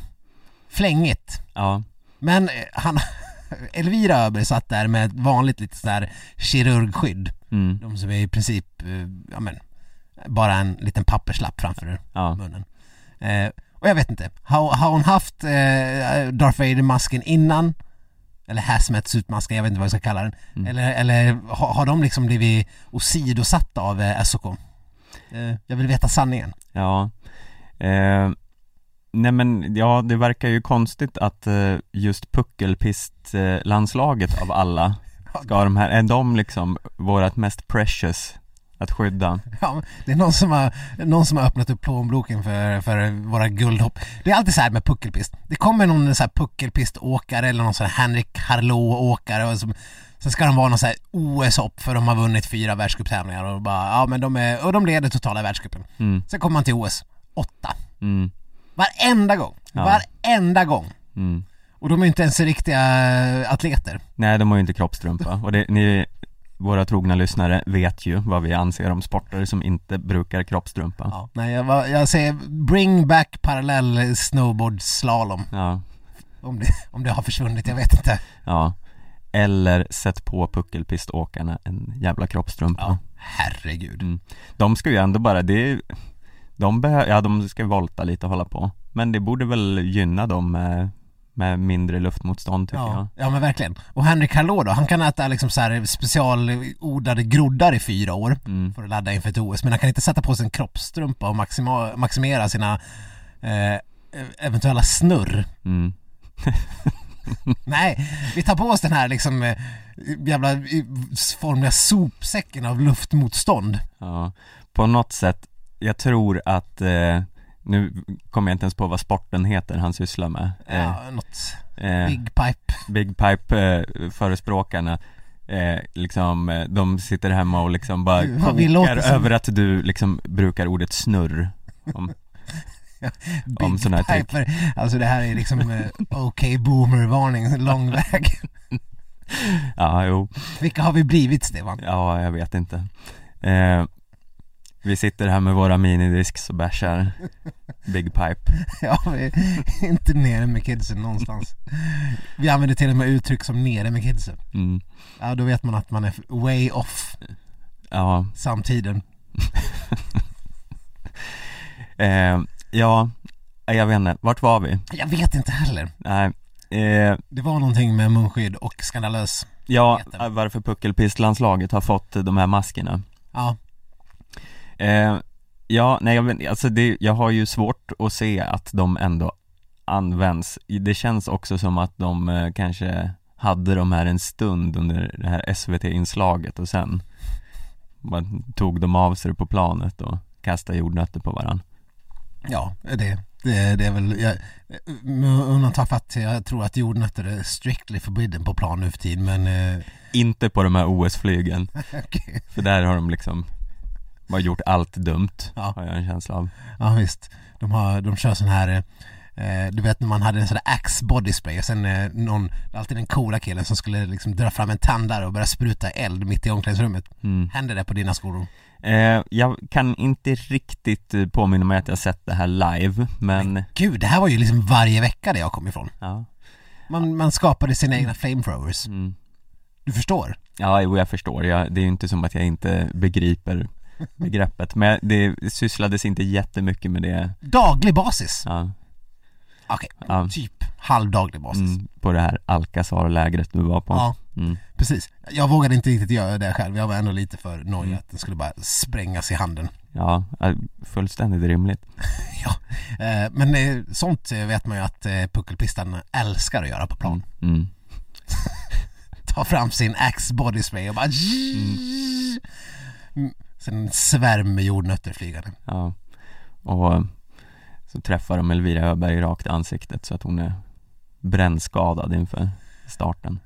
[SPEAKER 1] Flängigt.
[SPEAKER 2] Ja.
[SPEAKER 1] Men eh, han, Elvira Öberg satt där med ett vanligt lite sådär kirurgskydd.
[SPEAKER 2] Mm.
[SPEAKER 1] De som är i princip, eh, ja men, bara en liten papperslapp framför
[SPEAKER 2] Ja.
[SPEAKER 1] munnen. Eh, och jag vet inte, har, har hon haft eh, Darth Vader-masken innan? Eller hazmat-suit-masken, jag vet inte vad jag ska kalla den.
[SPEAKER 2] Mm.
[SPEAKER 1] Eller, eller har, har de liksom blivit åsidosatta av eh, SOK? Eh, jag vill veta sanningen.
[SPEAKER 2] Ja eh, Nej men ja, det verkar ju konstigt att eh, just puckelpistlandslaget eh, landslaget av alla ska de här, är de liksom vårat mest precious att skydda?
[SPEAKER 1] Ja, men det är någon som har, någon som har öppnat upp plånboken för, för våra guldhopp. Det är alltid så här med puckelpist. Det kommer någon så här puckelpiståkare eller någon sån här Henrik Harlow-åkare och som, sen ska de vara någon så här OS-hopp för de har vunnit fyra världscuptävlingar och bara, ja men de är, och de leder totala världscupen.
[SPEAKER 2] Mm,
[SPEAKER 1] Sen kommer man till OS, åtta.
[SPEAKER 2] mm,
[SPEAKER 1] Varenda gång,
[SPEAKER 2] Ja.
[SPEAKER 1] varenda gång.
[SPEAKER 2] mm.
[SPEAKER 1] Och de är inte ens riktiga eh, atleter.
[SPEAKER 2] Nej, de har ju inte kroppstrumpa och det, ni, våra trogna lyssnare vet ju vad vi anser om sportare som inte brukar kroppstrumpa
[SPEAKER 1] Ja, nej, jag, var- jag säger bring back parallell snowboard slalom.
[SPEAKER 2] Ja,
[SPEAKER 1] Om det, om det har försvunnit, jag vet inte.
[SPEAKER 2] ja Eller sätt på puckelpiståkarna en jävla kroppstrumpa
[SPEAKER 1] Ja, herregud.
[SPEAKER 2] De ska ju ändå bara, det är, de behöver, ja de ska volta lite och hålla på Men det borde väl gynna dem med, med mindre luftmotstånd tycker jag
[SPEAKER 1] Ja, ja men verkligen. Och Henrik Harlaud då, han kan äta liksom så här specialodlade groddar i fyra år
[SPEAKER 2] mm.
[SPEAKER 1] för att ladda inför ett OS, men han kan inte sätta på sig en kroppstrumpa och maxima, maximera sina eh, eventuella snurr.
[SPEAKER 2] Mm.
[SPEAKER 1] Nej, vi tar på oss den här liksom eh, jävla eh, formliga sopsäcken av luftmotstånd.
[SPEAKER 2] Ja. På något sätt, jag tror att eh, nu kommer jag inte ens på vad sporten heter han sysslar med eh,
[SPEAKER 1] Ja, något
[SPEAKER 2] eh,
[SPEAKER 1] big pipe.
[SPEAKER 2] Big Pipe-förespråkarna eh, liksom, eh, de sitter hemma och liksom bara
[SPEAKER 1] Du, vad vi
[SPEAKER 2] kokar
[SPEAKER 1] låter som-
[SPEAKER 2] över att du liksom brukar ordet snurr om,
[SPEAKER 1] Big
[SPEAKER 2] om sån här typ. trick.
[SPEAKER 1] piper. Alltså det här är liksom eh, okej boomer-varning, lång väg.
[SPEAKER 2] Ja, jo
[SPEAKER 1] Vilka har vi blivit Stefan?
[SPEAKER 2] Ja, jag vet inte eh, Vi sitter här med våra minidisks och bashar Big Pipe
[SPEAKER 1] Ja, vi är inte nere med kidsen någonstans. Vi använder till och med uttryck som nere med kidsen.
[SPEAKER 2] mm.
[SPEAKER 1] Ja, då vet man att man är way off
[SPEAKER 2] Ja,
[SPEAKER 1] samtiden.
[SPEAKER 2] eh, ja, jag vet inte, vart var vi?
[SPEAKER 1] Jag vet inte heller.
[SPEAKER 2] Nej, eh,
[SPEAKER 1] Det var någonting med munskydd och skandalös.
[SPEAKER 2] ja,
[SPEAKER 1] Vet inte.
[SPEAKER 2] varför puckelpistlandslaget har fått de här maskerna
[SPEAKER 1] Ja,
[SPEAKER 2] eh, Ja, nej jag vet alltså det, jag har ju svårt att se att de ändå används Det känns också som att de eh, kanske hade de här en stund under det här SVT-inslaget och sen man tog dem av sig på planet och kastade jordnötter på varandra.
[SPEAKER 1] Ja, det, det, det är väl, jag, med undantag för att jag tror att jordnötter är strictly forbidden på plan nu för tiden men eh,
[SPEAKER 2] Inte på de här OS-flygen,
[SPEAKER 1] okej.
[SPEAKER 2] för där har de liksom bara gjort allt dumt,
[SPEAKER 1] Ja.
[SPEAKER 2] har jag en känsla av.
[SPEAKER 1] Ja visst, de, har, de kör sån här eh, du vet när man hade en sån där Axe body spray och sen eh, någon, alltid den coola killen som skulle liksom dra fram en tandare och börja spruta eld mitt i omklädningsrummet.
[SPEAKER 2] Mm.
[SPEAKER 1] Händer det på dina skolor?
[SPEAKER 2] Eh, jag kan inte riktigt eh, påminna mig att jag sett det här live, men
[SPEAKER 1] Gud, det här var ju liksom varje vecka där jag kom ifrån.
[SPEAKER 2] ja.
[SPEAKER 1] Man, man skapade sina egna flamethrowers.
[SPEAKER 2] Mm.
[SPEAKER 1] Du förstår?
[SPEAKER 2] Ja, jo, jag förstår. Jag, det är ju inte som att jag inte begriper begreppet, men det sysslades inte jättemycket med det.
[SPEAKER 1] Daglig basis.
[SPEAKER 2] Ja,
[SPEAKER 1] Okej,
[SPEAKER 2] ja.
[SPEAKER 1] typ halvdaglig basis.
[SPEAKER 2] Mm, på det här Alcazar-lägret du var på.
[SPEAKER 1] Ja,
[SPEAKER 2] Mm.
[SPEAKER 1] precis. Jag vågade inte riktigt göra det själv. Jag var ändå lite för nojig
[SPEAKER 2] Mm.
[SPEAKER 1] att den skulle bara sprängas i handen.
[SPEAKER 2] Ja, eh, fullständigt rimligt.
[SPEAKER 1] Eh, men eh, sånt eh, vet man ju att eh, puckelpistan älskar att göra på plan.
[SPEAKER 2] Mm.
[SPEAKER 1] Ta fram sin Axe body spray och bara Mm. Sen en svärm med jordnötter flygande.
[SPEAKER 2] Ja. Och så träffar de Elvira Öberg rakt i ansiktet så att hon är brännskadad inför starten.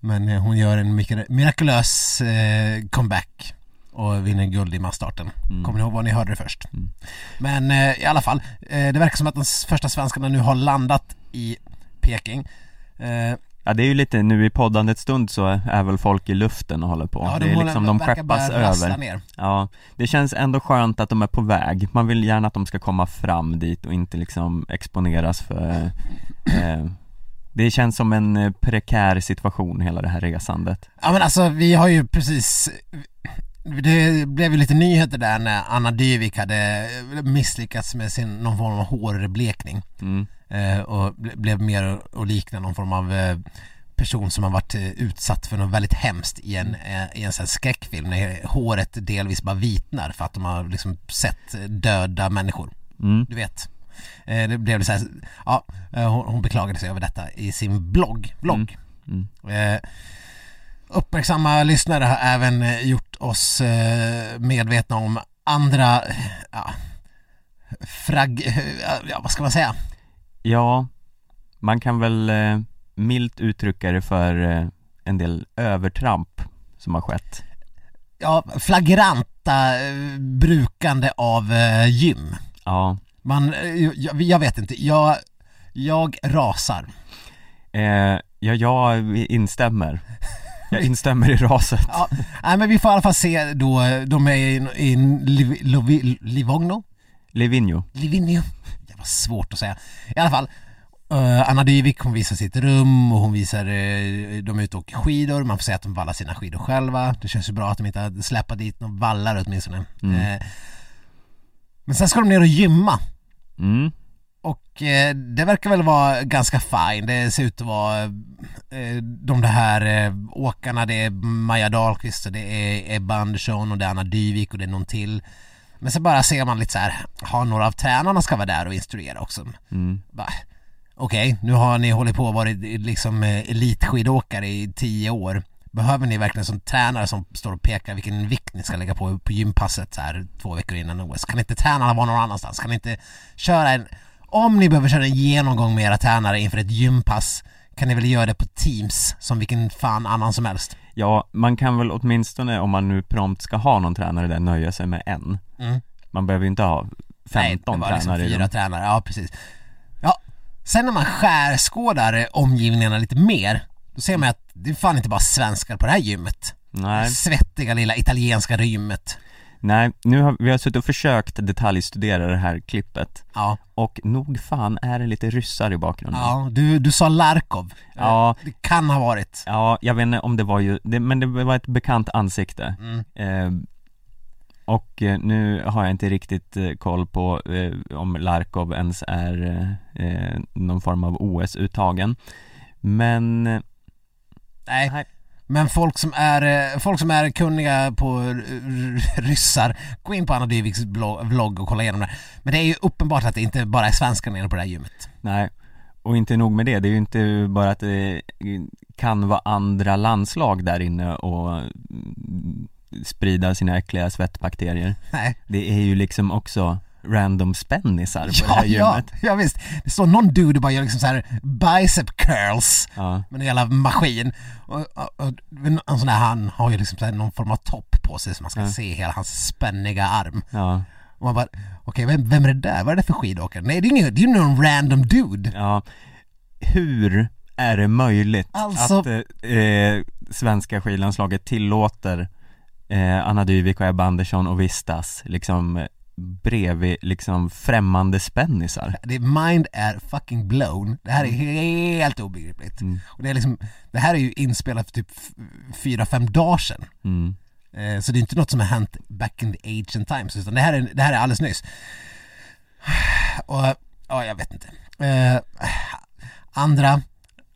[SPEAKER 1] Men eh, hon gör en mikra- mirakulös eh, comeback och vinner guld i massstarten.
[SPEAKER 2] Mm.
[SPEAKER 1] Kommer ni ihåg var ni hörde det först?
[SPEAKER 2] Mm.
[SPEAKER 1] Men eh, i alla fall, eh, det verkar som att de s- första svenskarna nu har landat i Peking. Eh,
[SPEAKER 2] Ja det är ju lite, nu i poddandets stund så är väl folk i luften och håller på.
[SPEAKER 1] ja,
[SPEAKER 2] det är
[SPEAKER 1] håller-
[SPEAKER 2] liksom, de
[SPEAKER 1] verkar
[SPEAKER 2] skeppas
[SPEAKER 1] börja rassla
[SPEAKER 2] över.
[SPEAKER 1] Ner.
[SPEAKER 2] Ja, det känns ändå skönt att de är på väg. Man vill gärna att de ska komma fram dit och inte liksom exponeras för eh, Det känns som en eh, prekär situation hela det här resandet.
[SPEAKER 1] Ja men alltså vi har ju precis det blev ju lite nyheter där när Anna Dyvik hade misslyckats med sin, någon form av hårblekning
[SPEAKER 2] Mm.
[SPEAKER 1] eh, och ble- blev mer och likna någon form av eh, person som har varit eh, utsatt för något väldigt hemskt i en, eh, i en sån här skräckfilm när håret delvis bara vitnar för att de har liksom sett eh, döda människor,
[SPEAKER 2] Mm.
[SPEAKER 1] du vet. Eh, Det blev så här, ja, eh, hon hon beklagade sig över detta i sin blogg, blogg.
[SPEAKER 2] Mm.
[SPEAKER 1] Eh, uppmärksamma lyssnare har även eh, gjort oss eh, medvetna om andra, eh, ja, frag, eh, ja, vad ska man säga?
[SPEAKER 2] Ja, man kan väl eh, milt uttrycka det för eh, en del övertramp som har skett.
[SPEAKER 1] Ja, flagranta eh, brukande av eh, gym.
[SPEAKER 2] Ja,
[SPEAKER 1] Man, eh, jag, jag vet inte, jag, jag rasar.
[SPEAKER 2] eh, ja jag instämmer. Jag instämmer i raset.
[SPEAKER 1] Ja, nej, men vi får i alla fall se då, eh, de är i, i Liv, Liv, Livogno?
[SPEAKER 2] Livigno.
[SPEAKER 1] Livigno. Det var svårt att säga. I alla fall. eh, Anna Dyvik, hon visar sitt rum och hon visar, eh, de är ute och åker skidor, man får säga att de vallar sina skidor själva. Det känns ju bra att de inte har släpat dit någon vallare åtminstone.
[SPEAKER 2] Mm.
[SPEAKER 1] Eh, men sen ska de ner och gymma
[SPEAKER 2] Mm.
[SPEAKER 1] och eh, det verkar väl vara ganska fine. Det ser ut att vara eh, de där här eh, åkarna, det är Maja Dahlqvist och det är Ebba Andersson och det är Anna Dyvik och det är någon till. Men så bara ser man lite så här, har några av tränarna ska vara där och instruera också.
[SPEAKER 2] Mm.
[SPEAKER 1] Bara, Okej, nu har ni hållit på och varit eh, liksom eh, elitskidåkare i tio år. Behöver ni verkligen som tränare som står och pekar vilken vikt ni ska lägga på på gympasset så här två veckor innan OS? Kan inte tränarna vara någon annanstans? Kan ni inte köra en... Om ni behöver köra en genomgång med era tränare inför ett gympass kan ni väl göra det på Teams som vilken fan annan som helst?
[SPEAKER 2] Ja, man kan väl åtminstone om man nu prompt ska ha någon tränare där nöja sig med en.
[SPEAKER 1] Mm.
[SPEAKER 2] Man behöver ju inte ha 15
[SPEAKER 1] Nej, det var liksom
[SPEAKER 2] tränare i
[SPEAKER 1] fyra
[SPEAKER 2] dem.
[SPEAKER 1] tränare, ja precis. Ja, sen när man skärskådar eh, omgivningarna lite mer, då ser man att det är fan inte bara svenskar på det här gymmet.
[SPEAKER 2] Nej,
[SPEAKER 1] Svettiga lilla italienska gymmet.
[SPEAKER 2] nej, nu har vi har suttit och försökt detaljstudera det här klippet
[SPEAKER 1] Ja,
[SPEAKER 2] och nog fan är det lite ryssar i bakgrunden.
[SPEAKER 1] ja du, du sa Larkov.
[SPEAKER 2] Ja,
[SPEAKER 1] Det kan ha varit.
[SPEAKER 2] ja, jag vet inte om det var ju, det, men det var ett bekant ansikte.
[SPEAKER 1] Mm.
[SPEAKER 2] Eh, och eh, nu har jag inte riktigt eh, koll på eh, om Larkov ens är eh, eh, någon form av OS-uttagen. Men eh,
[SPEAKER 1] Nej.
[SPEAKER 2] Nej.
[SPEAKER 1] Men folk som är, eh, folk som är kunniga på r- r- ryssar, gå in på Anna Dyviks blo- vlogg och kolla igenom det. Men det är ju uppenbart att det inte bara är svenskar nere på det här gymmet.
[SPEAKER 2] Nej, och inte nog med det, det är ju inte bara att det kan vara andra landslag där inne och mm, sprida sina äckliga svettbakterier.
[SPEAKER 1] Nej.
[SPEAKER 2] Det är ju liksom också random spännisar på det
[SPEAKER 1] Ja,
[SPEAKER 2] här
[SPEAKER 1] ja,
[SPEAKER 2] gymmet.
[SPEAKER 1] ja visst. Det står någon dude och bara gör liksom så här bicep curls
[SPEAKER 2] Ja.
[SPEAKER 1] med en jävla maskin. Och, och, och, en sån där, han har ju liksom så här någon form av topp på sig så man ska
[SPEAKER 2] Ja.
[SPEAKER 1] se hela hans spänniga arm.
[SPEAKER 2] Ja,
[SPEAKER 1] Och man bara, okej vem, vem är det där? Vad är det för skidåkare? Nej det är ingen, det är ju någon random dude.
[SPEAKER 2] ja. Hur är det möjligt
[SPEAKER 1] Alltså-
[SPEAKER 2] att eh, eh, svenska skidlandslaget tillåter eh, Anna Dyvik och Ebba Andersson och vistas liksom eh, bredvid liksom främmande spännisar?
[SPEAKER 1] Det, mind är fucking blown. Det här är helt obegripligt.
[SPEAKER 2] Mm.
[SPEAKER 1] Och det, är liksom, det här är ju inspelat för typ f- fyra, fem dagar sedan.
[SPEAKER 2] Mm.
[SPEAKER 1] Eh, Så det är inte något som har hänt back in the ancient times utan det här är, det här är alldeles nyss. Och, ja jag vet inte. Eh, andra,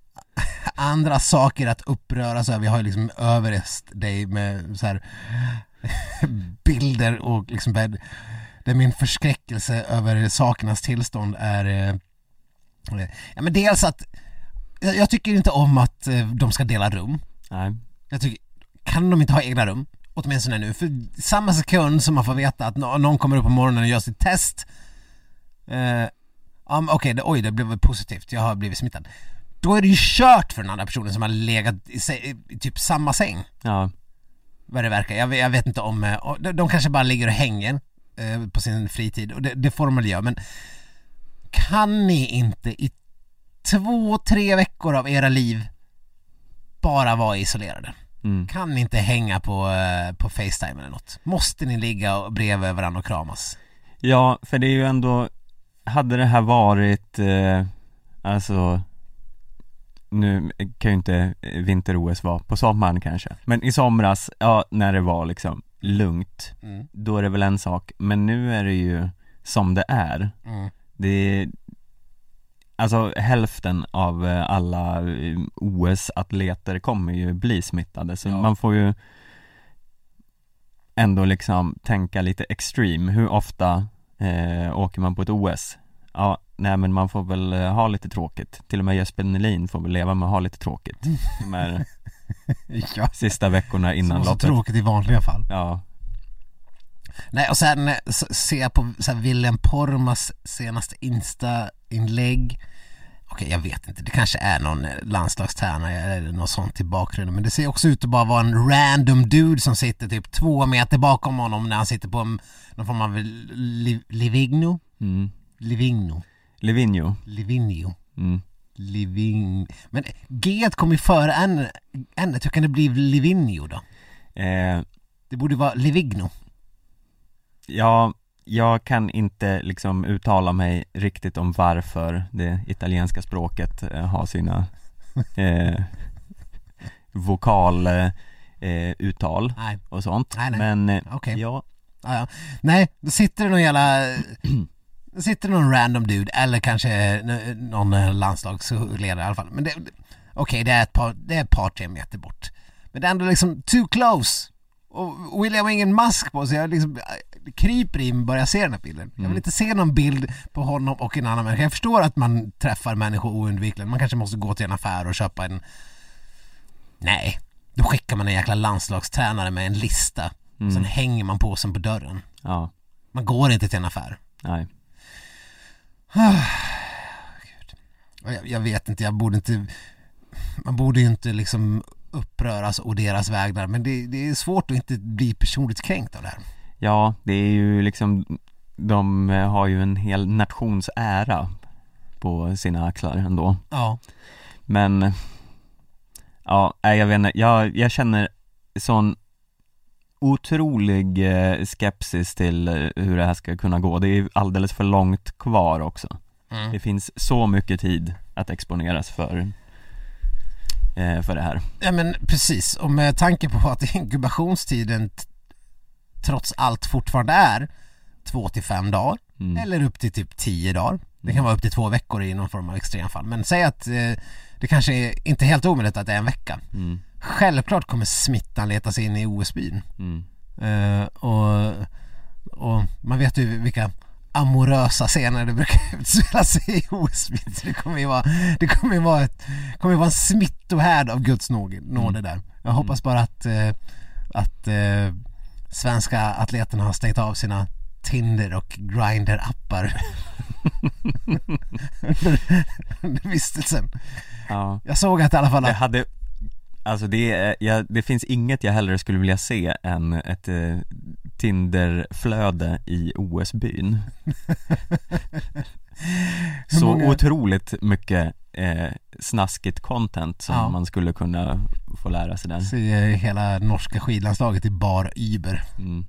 [SPEAKER 1] andra saker att uppröras över, vi har ju liksom överrest dig med så här bilder och liksom där, där min förskräckelse över sakernas tillstånd är eh, ja, men dels att jag, jag tycker inte om att eh, de ska dela rum.
[SPEAKER 2] Nej.
[SPEAKER 1] Jag tycker, kan de inte ha egna rum? Åtminstone nu, för samma sekund som man får veta att nå- någon kommer upp på morgonen och gör sitt test eh, ja, men Okej, det, oj det blev positivt, jag har blivit smittad Då är det ju kört för den andra personen som har legat i, sä- i typ samma säng
[SPEAKER 2] Ja.
[SPEAKER 1] Vad det verkar, jag, vet- jag vet inte om, eh, och de, de kanske bara ligger och hänger eh, på sin fritid och det, det får de väl göra men Kan ni inte i två, tre veckor av era liv bara vara isolerade?
[SPEAKER 2] Mm.
[SPEAKER 1] Kan ni inte hänga på, eh, på Facetime eller något? Måste ni ligga och- bredvid varandra och kramas?
[SPEAKER 2] Ja, för det är ju ändå Hade det här varit eh, Alltså Nu kan ju inte eh, vinter-OS vara på sommaren kanske Men i somras, ja när det var liksom lugnt
[SPEAKER 1] Mm.
[SPEAKER 2] Då är det väl en sak, men nu är det ju som det är
[SPEAKER 1] Mm.
[SPEAKER 2] Det är Alltså hälften av eh, alla eh, OS-atleter kommer ju bli smittade så
[SPEAKER 1] Ja.
[SPEAKER 2] man får ju ändå liksom tänka lite extreme. Hur ofta eh, åker man på ett OS? Ja, nej men man får väl eh, ha lite tråkigt. Till och med Jesper Nelin får väl leva med att ha lite tråkigt de här
[SPEAKER 1] Ja,
[SPEAKER 2] sista veckorna
[SPEAKER 1] som
[SPEAKER 2] innan
[SPEAKER 1] var så
[SPEAKER 2] loppet.
[SPEAKER 1] tråkigt i vanliga fall.
[SPEAKER 2] Ja,
[SPEAKER 1] Nej, och sen eh, s- ser jag på så här, Willem Pormas senaste Insta-inlägg. Okej, jag vet inte. Det kanske är någon eh, landslagstränare eller något sånt i bakgrunden. Men det ser också ut att bara vara en random dude som sitter typ två meter bakom honom när han sitter på en, någon form av li, Livigno?
[SPEAKER 2] mm.
[SPEAKER 1] Livigno?
[SPEAKER 2] Livigno.
[SPEAKER 1] Livigno?
[SPEAKER 2] Mm.
[SPEAKER 1] Living... Men G kom ju före N, N. Hur kan det bli Livigno då?
[SPEAKER 2] Eh,
[SPEAKER 1] Det borde vara Livigno.
[SPEAKER 2] Ja, jag kan inte liksom uttala mig riktigt om varför det italienska språket eh, har sina eh, vokal eh, uttal
[SPEAKER 1] Nej,
[SPEAKER 2] och sånt
[SPEAKER 1] Nej, nej.
[SPEAKER 2] Men eh,
[SPEAKER 1] okej.
[SPEAKER 2] ja,
[SPEAKER 1] Ja, ja. Nej, då sitter det någon jävla... Då sitter det någon random dude eller kanske n- någon eh, landslagsledare i alla fall. Men det... Okej, det är ett par, det är ett par tre meter bort. Men det är ändå liksom too close. Och William har ingen mask på sig, jag liksom eh, kryper in bara jag ser den här bilden. Jag vill inte se någon bild på honom och en annan människa. Jag förstår att man träffar människor oundvikligen. Man kanske måste gå till en affär och köpa en... Nej, då skickar man en jäkla landslagstränare med en lista.
[SPEAKER 2] Mm.
[SPEAKER 1] Sen hänger man påsen på dörren.
[SPEAKER 2] ja,
[SPEAKER 1] Man går inte till en affär.
[SPEAKER 2] nej
[SPEAKER 1] Och Jag, jag vet inte, jag borde inte... Man borde ju inte liksom uppröras och deras vägnar men det, det är svårt att inte bli personligt kränkt av det här.
[SPEAKER 2] Ja, det är ju liksom De eh, har ju en hel nations ära på sina axlar ändå
[SPEAKER 1] Ja,
[SPEAKER 2] Men Ja, nej, jag vet inte, jag, jag känner sån otrolig eh, skepsis till eh, hur det här ska kunna gå Det är ju alldeles för långt kvar också
[SPEAKER 1] Mm.
[SPEAKER 2] Det finns så mycket tid att exponeras för eh, För det här
[SPEAKER 1] ja men precis. Och med tanke på att inkubationstiden t- trots allt fortfarande är två till fem dagar
[SPEAKER 2] mm.
[SPEAKER 1] eller upp till typ tio dagar. Det kan vara upp till två veckor i någon form av extremfall. Men säg att eh, det kanske är inte helt omöjligt att det är en vecka.
[SPEAKER 2] Mm.
[SPEAKER 1] Självklart kommer smittan leta sig in i OS-byn.
[SPEAKER 2] Mm.
[SPEAKER 1] Eh, och, och man vet ju vilka amorösa scener det brukar utspela sig i OS-byn. Så Det kommer ju vara, det kommer ju vara, ett, kommer ju vara en smittohärd av Guds nåd, nåde där. Jag hoppas bara att, eh, att eh, svenska atleterna har stängt av sina Tinder och Grindr-appar under, under vistelsen.
[SPEAKER 2] Ja.
[SPEAKER 1] Jag såg att i alla fall
[SPEAKER 2] Jag
[SPEAKER 1] att,
[SPEAKER 2] hade, alltså det, är- jag, det finns inget jag hellre skulle vilja se än ett eh, Tinderflöde i OS-byn
[SPEAKER 1] Hur
[SPEAKER 2] Så
[SPEAKER 1] många-
[SPEAKER 2] otroligt mycket eh, snaskigt content som
[SPEAKER 1] Ja.
[SPEAKER 2] man skulle kunna få lära sig där
[SPEAKER 1] se hela norska skidlandslaget i bar Uber.
[SPEAKER 2] mm.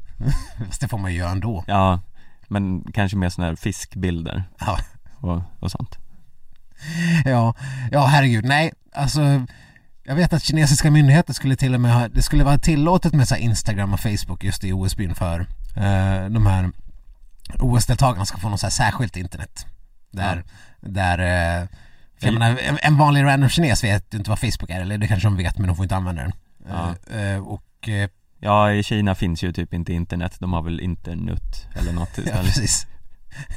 [SPEAKER 1] Fast det får man ju göra ändå.
[SPEAKER 2] Ja, men kanske mer sådana här fiskbilder
[SPEAKER 1] Ja.
[SPEAKER 2] och, och sånt
[SPEAKER 1] Ja, ja herregud, nej, alltså jag vet att kinesiska myndigheter skulle till och med ha, det skulle vara tillåtet med så här Instagram och Facebook just i OS-byn för eh, de här OS-deltagarna ska få något så här särskilt internet. Där, där eh, för jag
[SPEAKER 2] Ja.
[SPEAKER 1] menar, en, en vanlig random kines vet ju inte vad Facebook är, eller det kanske de vet men de får inte använda den.
[SPEAKER 2] Ja.
[SPEAKER 1] Eh, eh, och, eh,
[SPEAKER 2] Ja, i Kina finns ju typ inte internet, de har väl internet eller något
[SPEAKER 1] ja
[SPEAKER 2] istället
[SPEAKER 1] precis.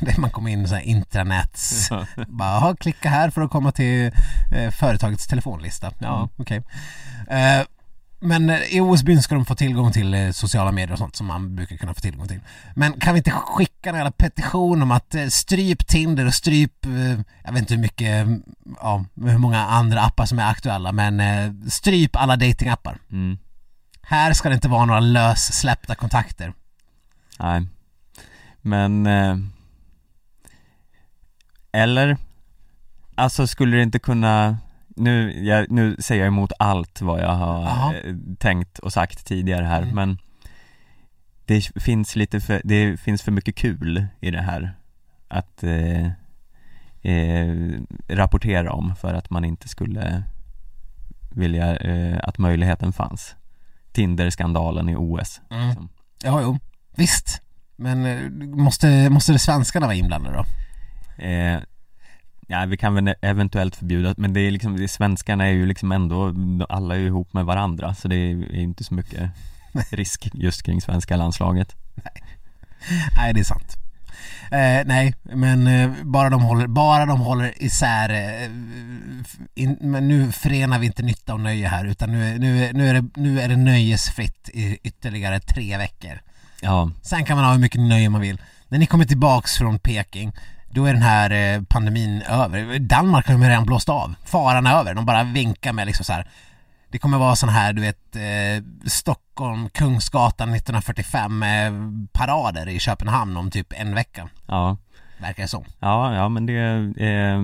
[SPEAKER 1] Där man kommer in i så här intranäts...
[SPEAKER 2] Så,
[SPEAKER 1] Bara, aha, klicka här för att komma till eh, företagets telefonlista. Ja,
[SPEAKER 2] Mm.
[SPEAKER 1] okej. Eh, men eh, i OS-byn ska de få tillgång till eh, sociala medier och sånt som man brukar kunna få tillgång till. Men kan vi inte skicka en jävla petition om att eh, stryp Tinder och stryp, eh, jag vet inte hur mycket, mm, ja, hur många andra appar som är aktuella, men eh, stryp alla datingappar.
[SPEAKER 2] mm,
[SPEAKER 1] Här ska det inte vara några lössläppta kontakter.
[SPEAKER 2] nej Men eh, Eller Alltså skulle det inte kunna nu, jag, nu säger jag emot allt vad jag
[SPEAKER 1] Jaha.
[SPEAKER 2] har eh, tänkt och sagt tidigare här
[SPEAKER 1] Mm.
[SPEAKER 2] men Det finns lite för, det finns för mycket kul i det här Att eh, eh, rapportera om för att man inte skulle vilja eh, att möjligheten fanns Tinder-skandalen i OS
[SPEAKER 1] Mm.
[SPEAKER 2] Som-
[SPEAKER 1] Ja, jo, visst. Men eh, måste, måste det svenskarna vara inblandade då?
[SPEAKER 2] Eh, ja, vi kan väl eventuellt förbjuda, men det är liksom, det, svenskarna är ju liksom ändå, alla är ju ihop med varandra så det är ju inte så mycket risk just kring svenska landslaget.
[SPEAKER 1] Nej, det är sant. Eh, nej, men eh, bara, de håller, bara de håller isär... Eh, f- in, men nu förenar vi inte nytta och nöje här utan nu, nu, nu, är det, nu är det nöjesfritt i ytterligare tre veckor.
[SPEAKER 2] Ja,
[SPEAKER 1] Sen kan man ha hur mycket nöje man vill. När ni kommer tillbaks från Peking, då är den här eh, pandemin över. Danmark har ju redan blåst av. Faran är över. De bara vinkar med liksom så här. Det kommer vara sån här, du vet, eh, Stockholm, Kungsgatan 1945 eh, parader i Köpenhamn om typ en vecka.
[SPEAKER 2] ja,
[SPEAKER 1] Verkar det som.
[SPEAKER 2] ja, ja men det, eh,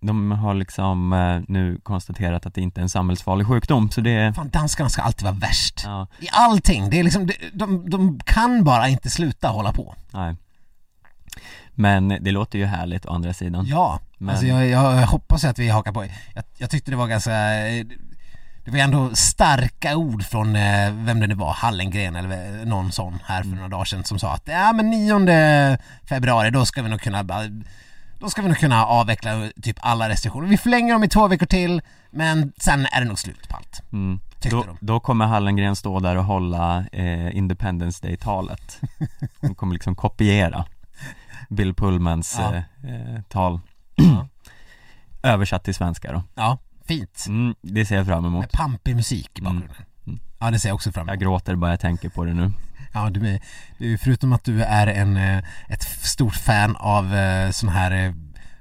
[SPEAKER 2] de har liksom eh, nu konstaterat att det inte är en samhällsfarlig sjukdom så det,
[SPEAKER 1] Fan, danskarna ska alltid vara värst.
[SPEAKER 2] ja,
[SPEAKER 1] I allting. Det är liksom, de, de, de kan bara inte sluta hålla på.
[SPEAKER 2] nej. Men det låter ju härligt å andra sidan.
[SPEAKER 1] Ja,
[SPEAKER 2] Men-
[SPEAKER 1] alltså jag, jag hoppas att vi hakar på. Jag, jag tyckte det var ganska, det var ändå starka ord från, eh, vem det nu var, Hallengren eller eh, någon sån här
[SPEAKER 2] Mm.
[SPEAKER 1] för några dagar sedan som sa att ja men 9 februari då ska vi nog kunna bara- då ska vi nog kunna avveckla typ alla restriktioner. Vi förlänger dem i två veckor till men sen är det nog slut på allt.
[SPEAKER 2] Mm.
[SPEAKER 1] Tyckte
[SPEAKER 2] då,
[SPEAKER 1] de.
[SPEAKER 2] då kommer Hallengren stå där och hålla eh, Independence Day-talet Hon kommer liksom kopiera Bill Pullmans
[SPEAKER 1] Ja.
[SPEAKER 2] eh, eh, tal
[SPEAKER 1] Ja.
[SPEAKER 2] Översatt till svenska då
[SPEAKER 1] Ja, fint.
[SPEAKER 2] mm, Det ser jag fram emot
[SPEAKER 1] Med pampig musik i
[SPEAKER 2] Mm.
[SPEAKER 1] bakgrunden.
[SPEAKER 2] Mm.
[SPEAKER 1] Ja det ser jag också fram
[SPEAKER 2] Jag
[SPEAKER 1] emot.
[SPEAKER 2] gråter bara jag tänker på det nu
[SPEAKER 1] Ja, du är, du är, förutom att du är en, eh, ett f- stort fan av eh, sån här eh,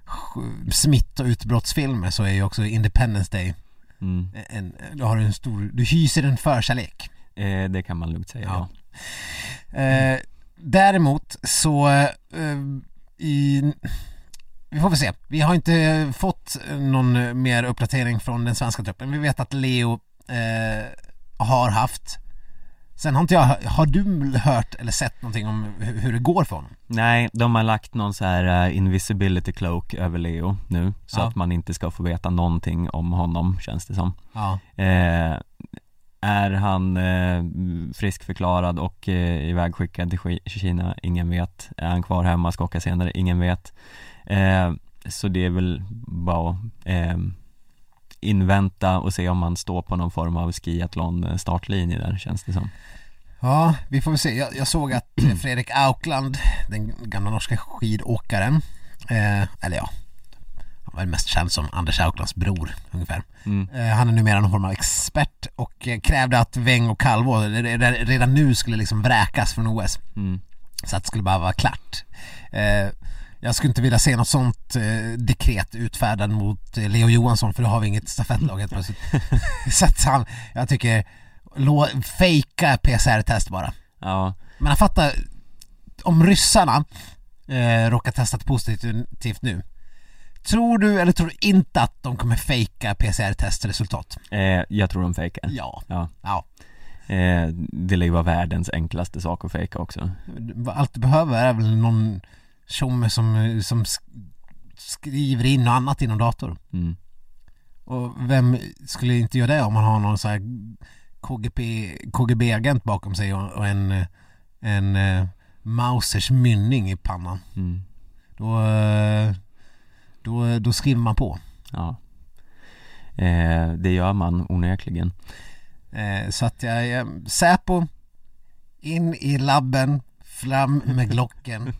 [SPEAKER 1] sj- smitt och utbrottsfilmer så är ju också Independence Day
[SPEAKER 2] mm.
[SPEAKER 1] en, en- då har du en stor, du hyser en förkärlek.
[SPEAKER 2] eh, Det kan man lugnt säga
[SPEAKER 1] Ja.
[SPEAKER 2] ja.
[SPEAKER 1] Eh, däremot så, eh, i, vi får väl se. Vi har inte fått någon eh, mer uppdatering från den svenska truppen. Vi vet att Leo eh, har haft. Sen har inte jag, har du hört eller sett någonting om hur, hur det går för honom?
[SPEAKER 2] Nej, de har lagt någon så här eh, invisibility cloak över Leo nu Så
[SPEAKER 1] Ja.
[SPEAKER 2] att man inte ska få veta någonting om honom känns det som
[SPEAKER 1] Ja.
[SPEAKER 2] Eh, är han eh, friskförklarad och eh, ivägskickad till Ki- Kina? Ingen vet. Är han kvar hemma, ska åka senare? Ingen vet. Eh, så det är väl bara att eh, invänta och se om han står på någon form av skiathlon eh, startlinje där känns det som.
[SPEAKER 1] Ja, vi får väl se. Jag, jag såg att eh, Fredrik Aukland, den gamla norska skidåkaren, eh, eller ja, han var väl mest känd som Anders Auklands bror ungefär.
[SPEAKER 2] Mm.
[SPEAKER 1] Eh, han är numera någon form av expert och eh, krävde att Weng och Calvo re- re- redan nu skulle liksom vräkas från OS.
[SPEAKER 2] Mm.
[SPEAKER 1] Så att det skulle bara vara klart. Eh, jag skulle inte vilja se något sånt eh, dekret utfärdat mot eh, Leo Johansson för då har vi inget stafettlag helt plötsligt. så att han, jag tycker, lå, fejka PCR-test bara.
[SPEAKER 2] Ja,
[SPEAKER 1] Men jag fattar, om ryssarna eh, råkar testa positivt nu Tror du eller tror du inte att de kommer fejka PCR-testresultat?
[SPEAKER 2] eh, jag tror de fejkar
[SPEAKER 1] Ja.
[SPEAKER 2] Ja,
[SPEAKER 1] ja.
[SPEAKER 2] eh, det lär ju vara världens enklaste sak att fejka också
[SPEAKER 1] Allt du behöver är väl någon tjomme som, som sk- skriver in något annat i någon dator.
[SPEAKER 2] mm.
[SPEAKER 1] Och vem skulle inte göra det om man har någon så här KGB, KGB-agent bakom sig och och en, en eh, Mausers mynning i pannan?
[SPEAKER 2] Mm.
[SPEAKER 1] Då, eh, då, då skriver man på.
[SPEAKER 2] Ja eh, Det gör man onekligen
[SPEAKER 1] Eh, Så att jag, jag Säpo, in i labben, fram med glocken,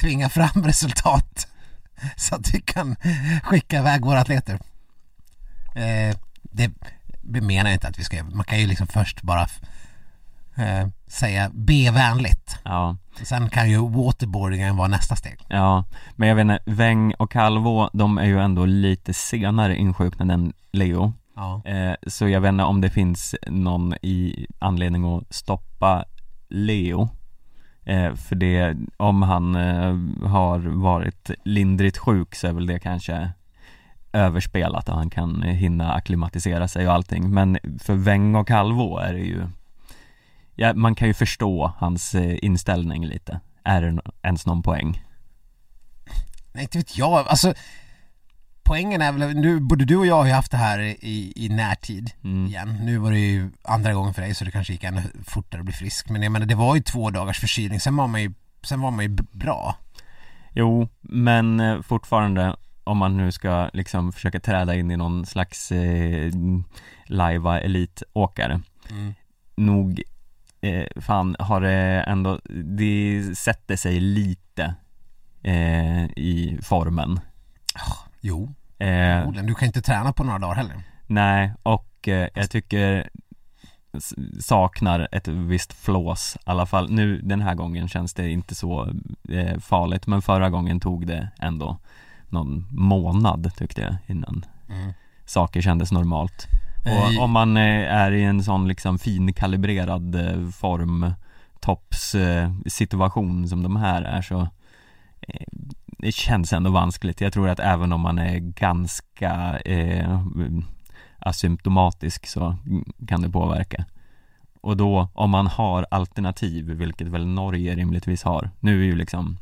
[SPEAKER 1] tvinga fram resultat. Så att vi kan skicka iväg våra atleter. Eh, Det det menar jag inte att vi ska göra. Man kan ju liksom först bara eh, säga be vänligt.
[SPEAKER 2] Ja,
[SPEAKER 1] Sen kan ju waterboardingen vara nästa steg.
[SPEAKER 2] ja Men jag vet inte, Weng och Calvo, de är ju ändå lite senare insjuknade än Leo
[SPEAKER 1] Ja.
[SPEAKER 2] eh, Så jag vet inte om det finns någon i anledning att stoppa Leo eh, För det, om han eh, har varit lindrigt sjuk så är väl det kanske överspelat och han kan eh, hinna acklimatisera sig och allting Men för Weng och Calvo är det ju ja, Man kan ju förstå hans eh, inställning lite Är det nå- ens någon poäng?
[SPEAKER 1] Nej, inte vet jag. Alltså, poängen är väl, nu, både du och jag har ju haft det här i, i närtid.
[SPEAKER 2] Mm.
[SPEAKER 1] igen. Nu var det ju andra gången för dig så det kanske gick ännu fortare att bli frisk. Men jag menar det var ju två dagars förkylning, sen var man ju, sen var man ju b- bra.
[SPEAKER 2] Jo, men eh, fortfarande om man nu ska liksom försöka träda in i någon slags eh, lajva elitåkare Mm. Nog, eh, fan har det ändå, det sätter sig lite eh, i formen
[SPEAKER 1] Jo,
[SPEAKER 2] eh,
[SPEAKER 1] förmodligen. Du kan inte träna på några dagar heller.
[SPEAKER 2] Nej, och eh, jag tycker s- saknar ett visst flås i alla fall. Nu den här gången känns det inte så eh, farligt men förra gången tog det ändå någon månad tyckte jag innan
[SPEAKER 1] Mm.
[SPEAKER 2] saker kändes normalt.
[SPEAKER 1] Eh,
[SPEAKER 2] Och om man eh, är i en sån liksom finkalibrerad eh, form topps, eh, situation som de här är så eh, det känns ändå vanskligt. Jag tror att även om man är ganska eh, asymptomatisk så kan det påverka. Och då om man har alternativ, vilket väl Norge rimligtvis har. Nu är ju liksom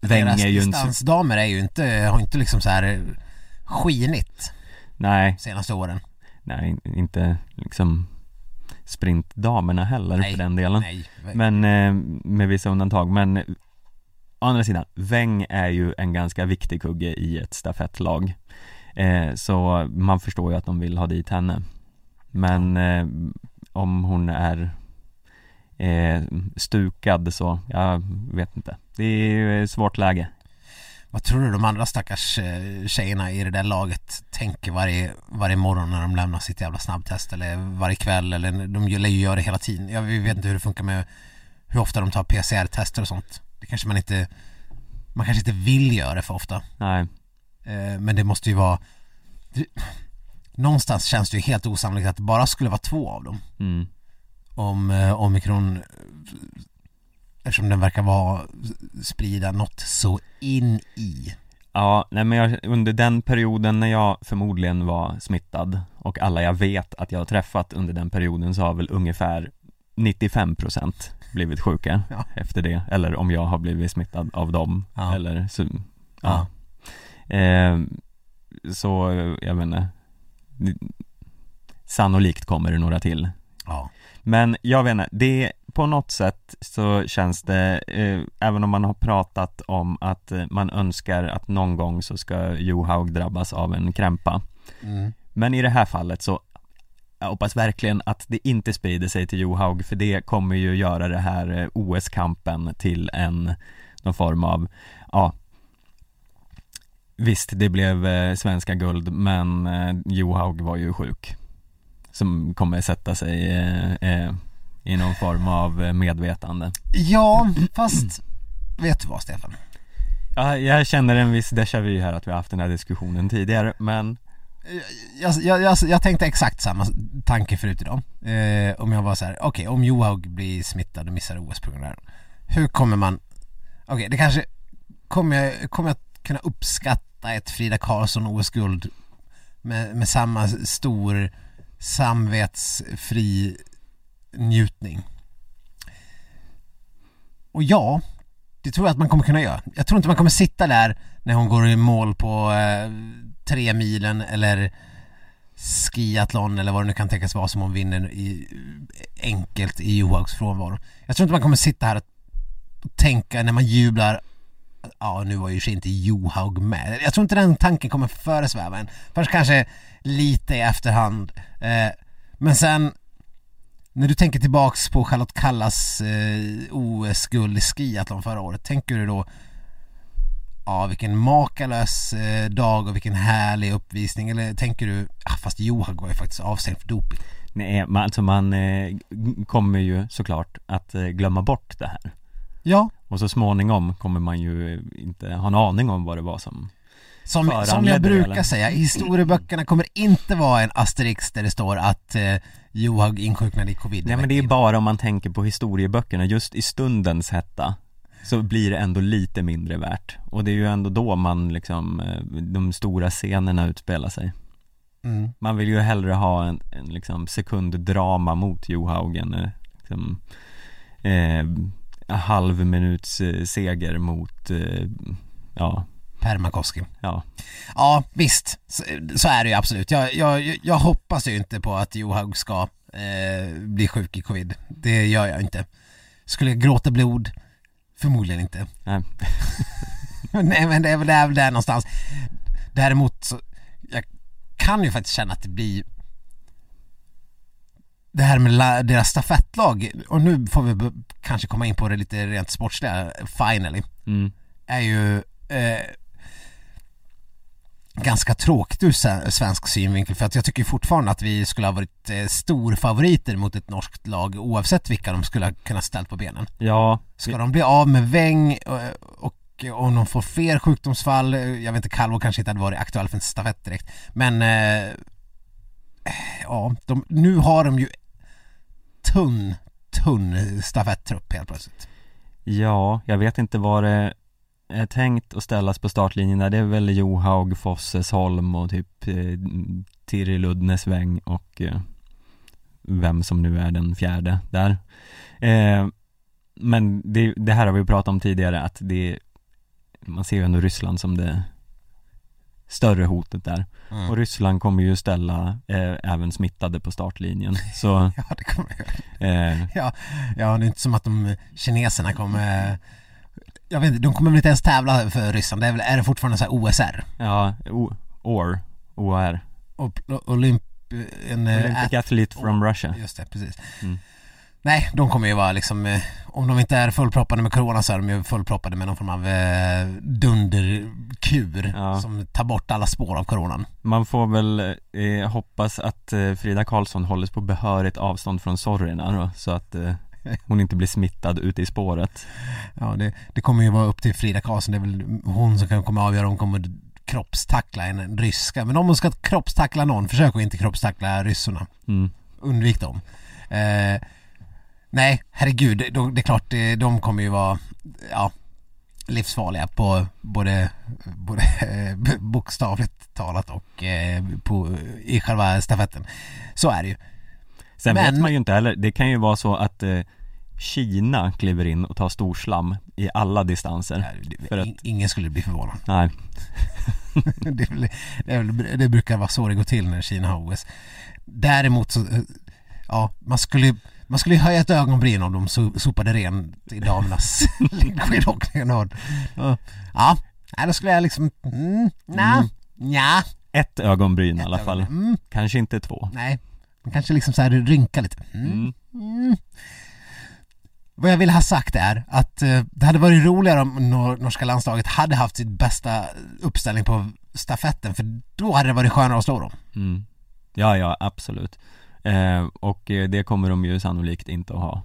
[SPEAKER 2] Weng
[SPEAKER 1] Deras
[SPEAKER 2] är ju en...
[SPEAKER 1] distansdamer är ju inte, har inte liksom så här eh, skinit
[SPEAKER 2] Nej,
[SPEAKER 1] de senaste åren.
[SPEAKER 2] nej, in- inte liksom sprintdamerna heller
[SPEAKER 1] Nej,
[SPEAKER 2] för den delen.
[SPEAKER 1] Nej.
[SPEAKER 2] Men eh, med vissa undantag, men eh, å andra sidan, Weng är ju en ganska viktig kugge i ett stafettlag eh, Så man förstår ju att de vill ha dit henne Men eh, om hon är eh, stukad så, jag vet inte Det är ju ett svårt läge
[SPEAKER 1] Vad tror du de andra stackars eh, tjejerna i det där laget tänker varje, varje morgon när de lämnar sitt jävla snabbtest eller varje kväll eller de lär ju göra det hela tiden. Jag vet inte hur det funkar med hur ofta de tar PCR-tester och sånt. Det kanske man inte, man kanske inte vill göra det för ofta.
[SPEAKER 2] Nej,
[SPEAKER 1] Eh, Men det måste ju vara det- Någonstans känns det ju helt osannolikt att det bara skulle vara två av dem
[SPEAKER 2] mm,
[SPEAKER 1] om eh, omikron eh, eftersom den verkar vara sprida något så in i.
[SPEAKER 2] Ja, nej men jag, under den perioden när jag förmodligen var smittad och alla jag vet att jag har träffat under den perioden så har väl ungefär 95% blivit sjuka
[SPEAKER 1] Ja.
[SPEAKER 2] efter det, eller om jag har blivit smittad av dem
[SPEAKER 1] Ja.
[SPEAKER 2] eller så, ja. Eh, så eh, jag vet inte Sannolikt kommer det några till
[SPEAKER 1] Ja.
[SPEAKER 2] men jag vet inte, det, på något sätt så känns det, eh, även om man har pratat om att eh, man önskar att någon gång så ska Johaug drabbas av en krämpa.
[SPEAKER 1] Mm.
[SPEAKER 2] Men i det här fallet så, jag hoppas verkligen att det inte sprider sig till Johaug för det kommer ju göra det här eh, OS-kampen till en, någon form av, ja, Visst, det blev eh, svenska guld, men eh, Johaug var ju sjuk. som kommer sätta sig eh, eh, i någon form av eh, medvetande.
[SPEAKER 1] Ja, fast vet du vad Stefan?
[SPEAKER 2] Ja, jag känner en viss déjà vu här att vi har haft den här diskussionen tidigare, men
[SPEAKER 1] Jag, jag, jag, jag tänkte exakt samma tanke förut idag. Eh, om jag var så här, okej om Johaug blir smittad och missar OS på grund av det här. Hur kommer man, okej det kanske, kommer jag, kommer jag kunna uppskatta ett Frida Karlsson OS-guld med, med samma stor samvetsfri njutning? Och ja, det tror jag att man kommer kunna göra. Jag tror inte man kommer sitta där när hon går i mål på eh, tre milen eller skiathlon eller vad det nu kan tänkas vara som hon vinner i, enkelt i Johaugs frånvaro. Jag tror inte man kommer sitta här och tänka när man jublar Ja, nu var ju i och för sig inte Johaug med. Jag tror inte den tanken kommer föresväva en. Först kanske lite i efterhand. Eh, men sen när du tänker tillbaks på Charlotte Kallas eh, OS-guld i skiathlon förra året, tänker du då Ja, vilken makalös eh, dag och vilken härlig uppvisning eller tänker du, ah, fast Johan går ju faktiskt avstängd för doping.
[SPEAKER 2] nej, man, alltså man eh, kommer ju såklart att eh, glömma bort det här.
[SPEAKER 1] Ja,
[SPEAKER 2] Och så småningom kommer man ju eh, inte ha en aning om vad det var som
[SPEAKER 1] som, som
[SPEAKER 2] Föranleder
[SPEAKER 1] jag
[SPEAKER 2] det,
[SPEAKER 1] brukar
[SPEAKER 2] eller?
[SPEAKER 1] säga, historieböckerna kommer inte vara en asterix där det står att eh, Johan insjuknade i covid.
[SPEAKER 2] Nej men det är bara om man tänker på historieböckerna, just i stundens hetta Så blir det ändå lite mindre värt Och det är ju ändå då man liksom, eh, de stora scenerna utspelar sig
[SPEAKER 1] mm.
[SPEAKER 2] Man vill ju hellre ha en, en liksom sekunddrama mot Johaugen eh, liksom, eh, halv minuts eh, seger mot, eh, ja,
[SPEAKER 1] Permakoski.
[SPEAKER 2] ja
[SPEAKER 1] Ja, visst. Så, så är det ju absolut. Jag, jag, jag hoppas ju inte på att Johaug ska eh, bli sjuk i covid. Det gör jag inte. Skulle jag gråta blod? Förmodligen inte.
[SPEAKER 2] Nej.
[SPEAKER 1] Nej, men det är väl det är väl där någonstans. Däremot så, jag kan ju faktiskt känna att det blir det här med la, deras stafettlag, och nu får vi b- kanske komma in på det lite rent sportsliga, finally
[SPEAKER 2] mm.
[SPEAKER 1] är ju eh, ganska tråkigt ur se- svensk synvinkel för att jag tycker fortfarande att vi skulle ha varit eh, storfavoriter mot ett norskt lag oavsett vilka de skulle ha kunnat ställt på benen.
[SPEAKER 2] Ja,
[SPEAKER 1] Ska de bli av med Weng eh, och om de får fler sjukdomsfall, eh, jag vet inte, Kalvo kanske inte hade varit aktuell för en stafett direkt men eh, eh, ja, de, nu har de ju tunn, tunn stafettrupp helt plötsligt.
[SPEAKER 2] Ja, jag vet inte vad det är tänkt att ställas på startlinjen där. Det är väl Johaug, Fossesholm och typ eh, Tiril Uddnesväng och eh, vem som nu är den fjärde där. Eh, men det, det här har vi ju pratat om tidigare att det man ser ju ändå Ryssland som det större hotet där.
[SPEAKER 1] Mm.
[SPEAKER 2] Och Ryssland kommer ju ställa eh, även smittade på startlinjen. Så
[SPEAKER 1] Ja, det kommer jag
[SPEAKER 2] eh,
[SPEAKER 1] Ja, det är inte som att de kineserna kommer jag vet inte, de kommer väl inte ens tävla för Ryssland, det är, väl, är det fortfarande så här OSR?
[SPEAKER 2] ja, O- OR, OR,
[SPEAKER 1] Och, olymp... En, eh,
[SPEAKER 2] Olympic Athlete from Russia.
[SPEAKER 1] ät- just det, precis.
[SPEAKER 2] Mm.
[SPEAKER 1] Nej, de kommer ju vara liksom, eh, om de inte är fullproppade med corona så är de ju fullproppade med någon form av eh, dunderkur
[SPEAKER 2] Ja.
[SPEAKER 1] som tar bort alla spår av coronan.
[SPEAKER 2] Man får väl eh, hoppas att eh, Frida Karlsson hålls på behörigt avstånd från sorgerna då, så att eh, hon inte blir smittad ute i spåret.
[SPEAKER 1] Ja, det, det kommer ju vara upp till Frida Karlsson, det är väl hon som kan komma avgöra om hon kommer kroppstackla en, en ryska. Men om hon ska kroppstackla någon, försök att inte kroppstackla ryssarna.
[SPEAKER 2] Mm.
[SPEAKER 1] undvik dem. Eh, nej, herregud, de, det är klart, eh, de kommer ju vara ja, livsfarliga på både, både eh, b- bokstavligt talat och eh, på, i själva stafetten. Så är det ju.
[SPEAKER 2] Sen
[SPEAKER 1] Men-
[SPEAKER 2] vet man ju inte heller, det kan ju vara så att eh, Kina kliver in och tar storslam i alla distanser. För att-
[SPEAKER 1] In- Ingen skulle bli förvånad.
[SPEAKER 2] Nej,
[SPEAKER 1] det, är väl, det, är väl, det brukar vara så det går till när Kina har OS. Däremot så, eh, ja, man skulle man skulle ju höja ett ögonbryn om de so- sopade rent i damernas längdskidåkning. och- Ja, ja nej, då skulle jag liksom, mm, nej,
[SPEAKER 2] Mm.
[SPEAKER 1] nja,
[SPEAKER 2] ett ögonbryn i alla fall.
[SPEAKER 1] mm,
[SPEAKER 2] Kanske inte två.
[SPEAKER 1] nej. Men kanske liksom så här rynka lite. Mm,
[SPEAKER 2] Mm.
[SPEAKER 1] mm. Vad jag vill ha sagt är att eh, det hade varit roligare om nor- norska landslaget hade haft sitt bästa uppställning på stafetten för då hade det varit skönare att slå dem.
[SPEAKER 2] Mm. Ja, ja, absolut. Eh, och eh, det kommer de ju sannolikt inte att ha.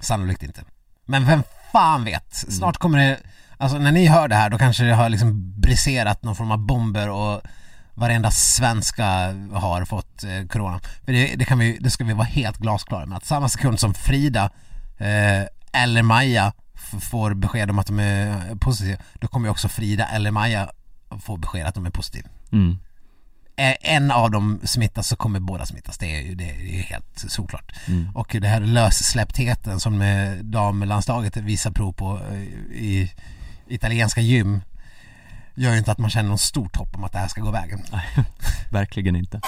[SPEAKER 1] Sannolikt inte. Men vem fan vet? Snart kommer det, alltså när ni hör det här då kanske det har liksom briserat någon form av bomber och varenda svenska har fått eh, corona. För det, det, kan vi, det ska vi vara helt glasklara med att samma sekund som Frida eh, eller Maja f- får besked om att de är positiva, då kommer ju också Frida eller Maja få besked att de är positiva.
[SPEAKER 2] Mm.
[SPEAKER 1] Eh, en av dem smittas så kommer båda smittas, det är ju det är ju helt såklart.
[SPEAKER 2] Mm.
[SPEAKER 1] Och det här lössläpptheten som eh, damlandslaget visar prov på eh, i italienska gym gör ju inte att man känner någon stort hopp om att det här ska gå vägen.
[SPEAKER 2] Verkligen inte.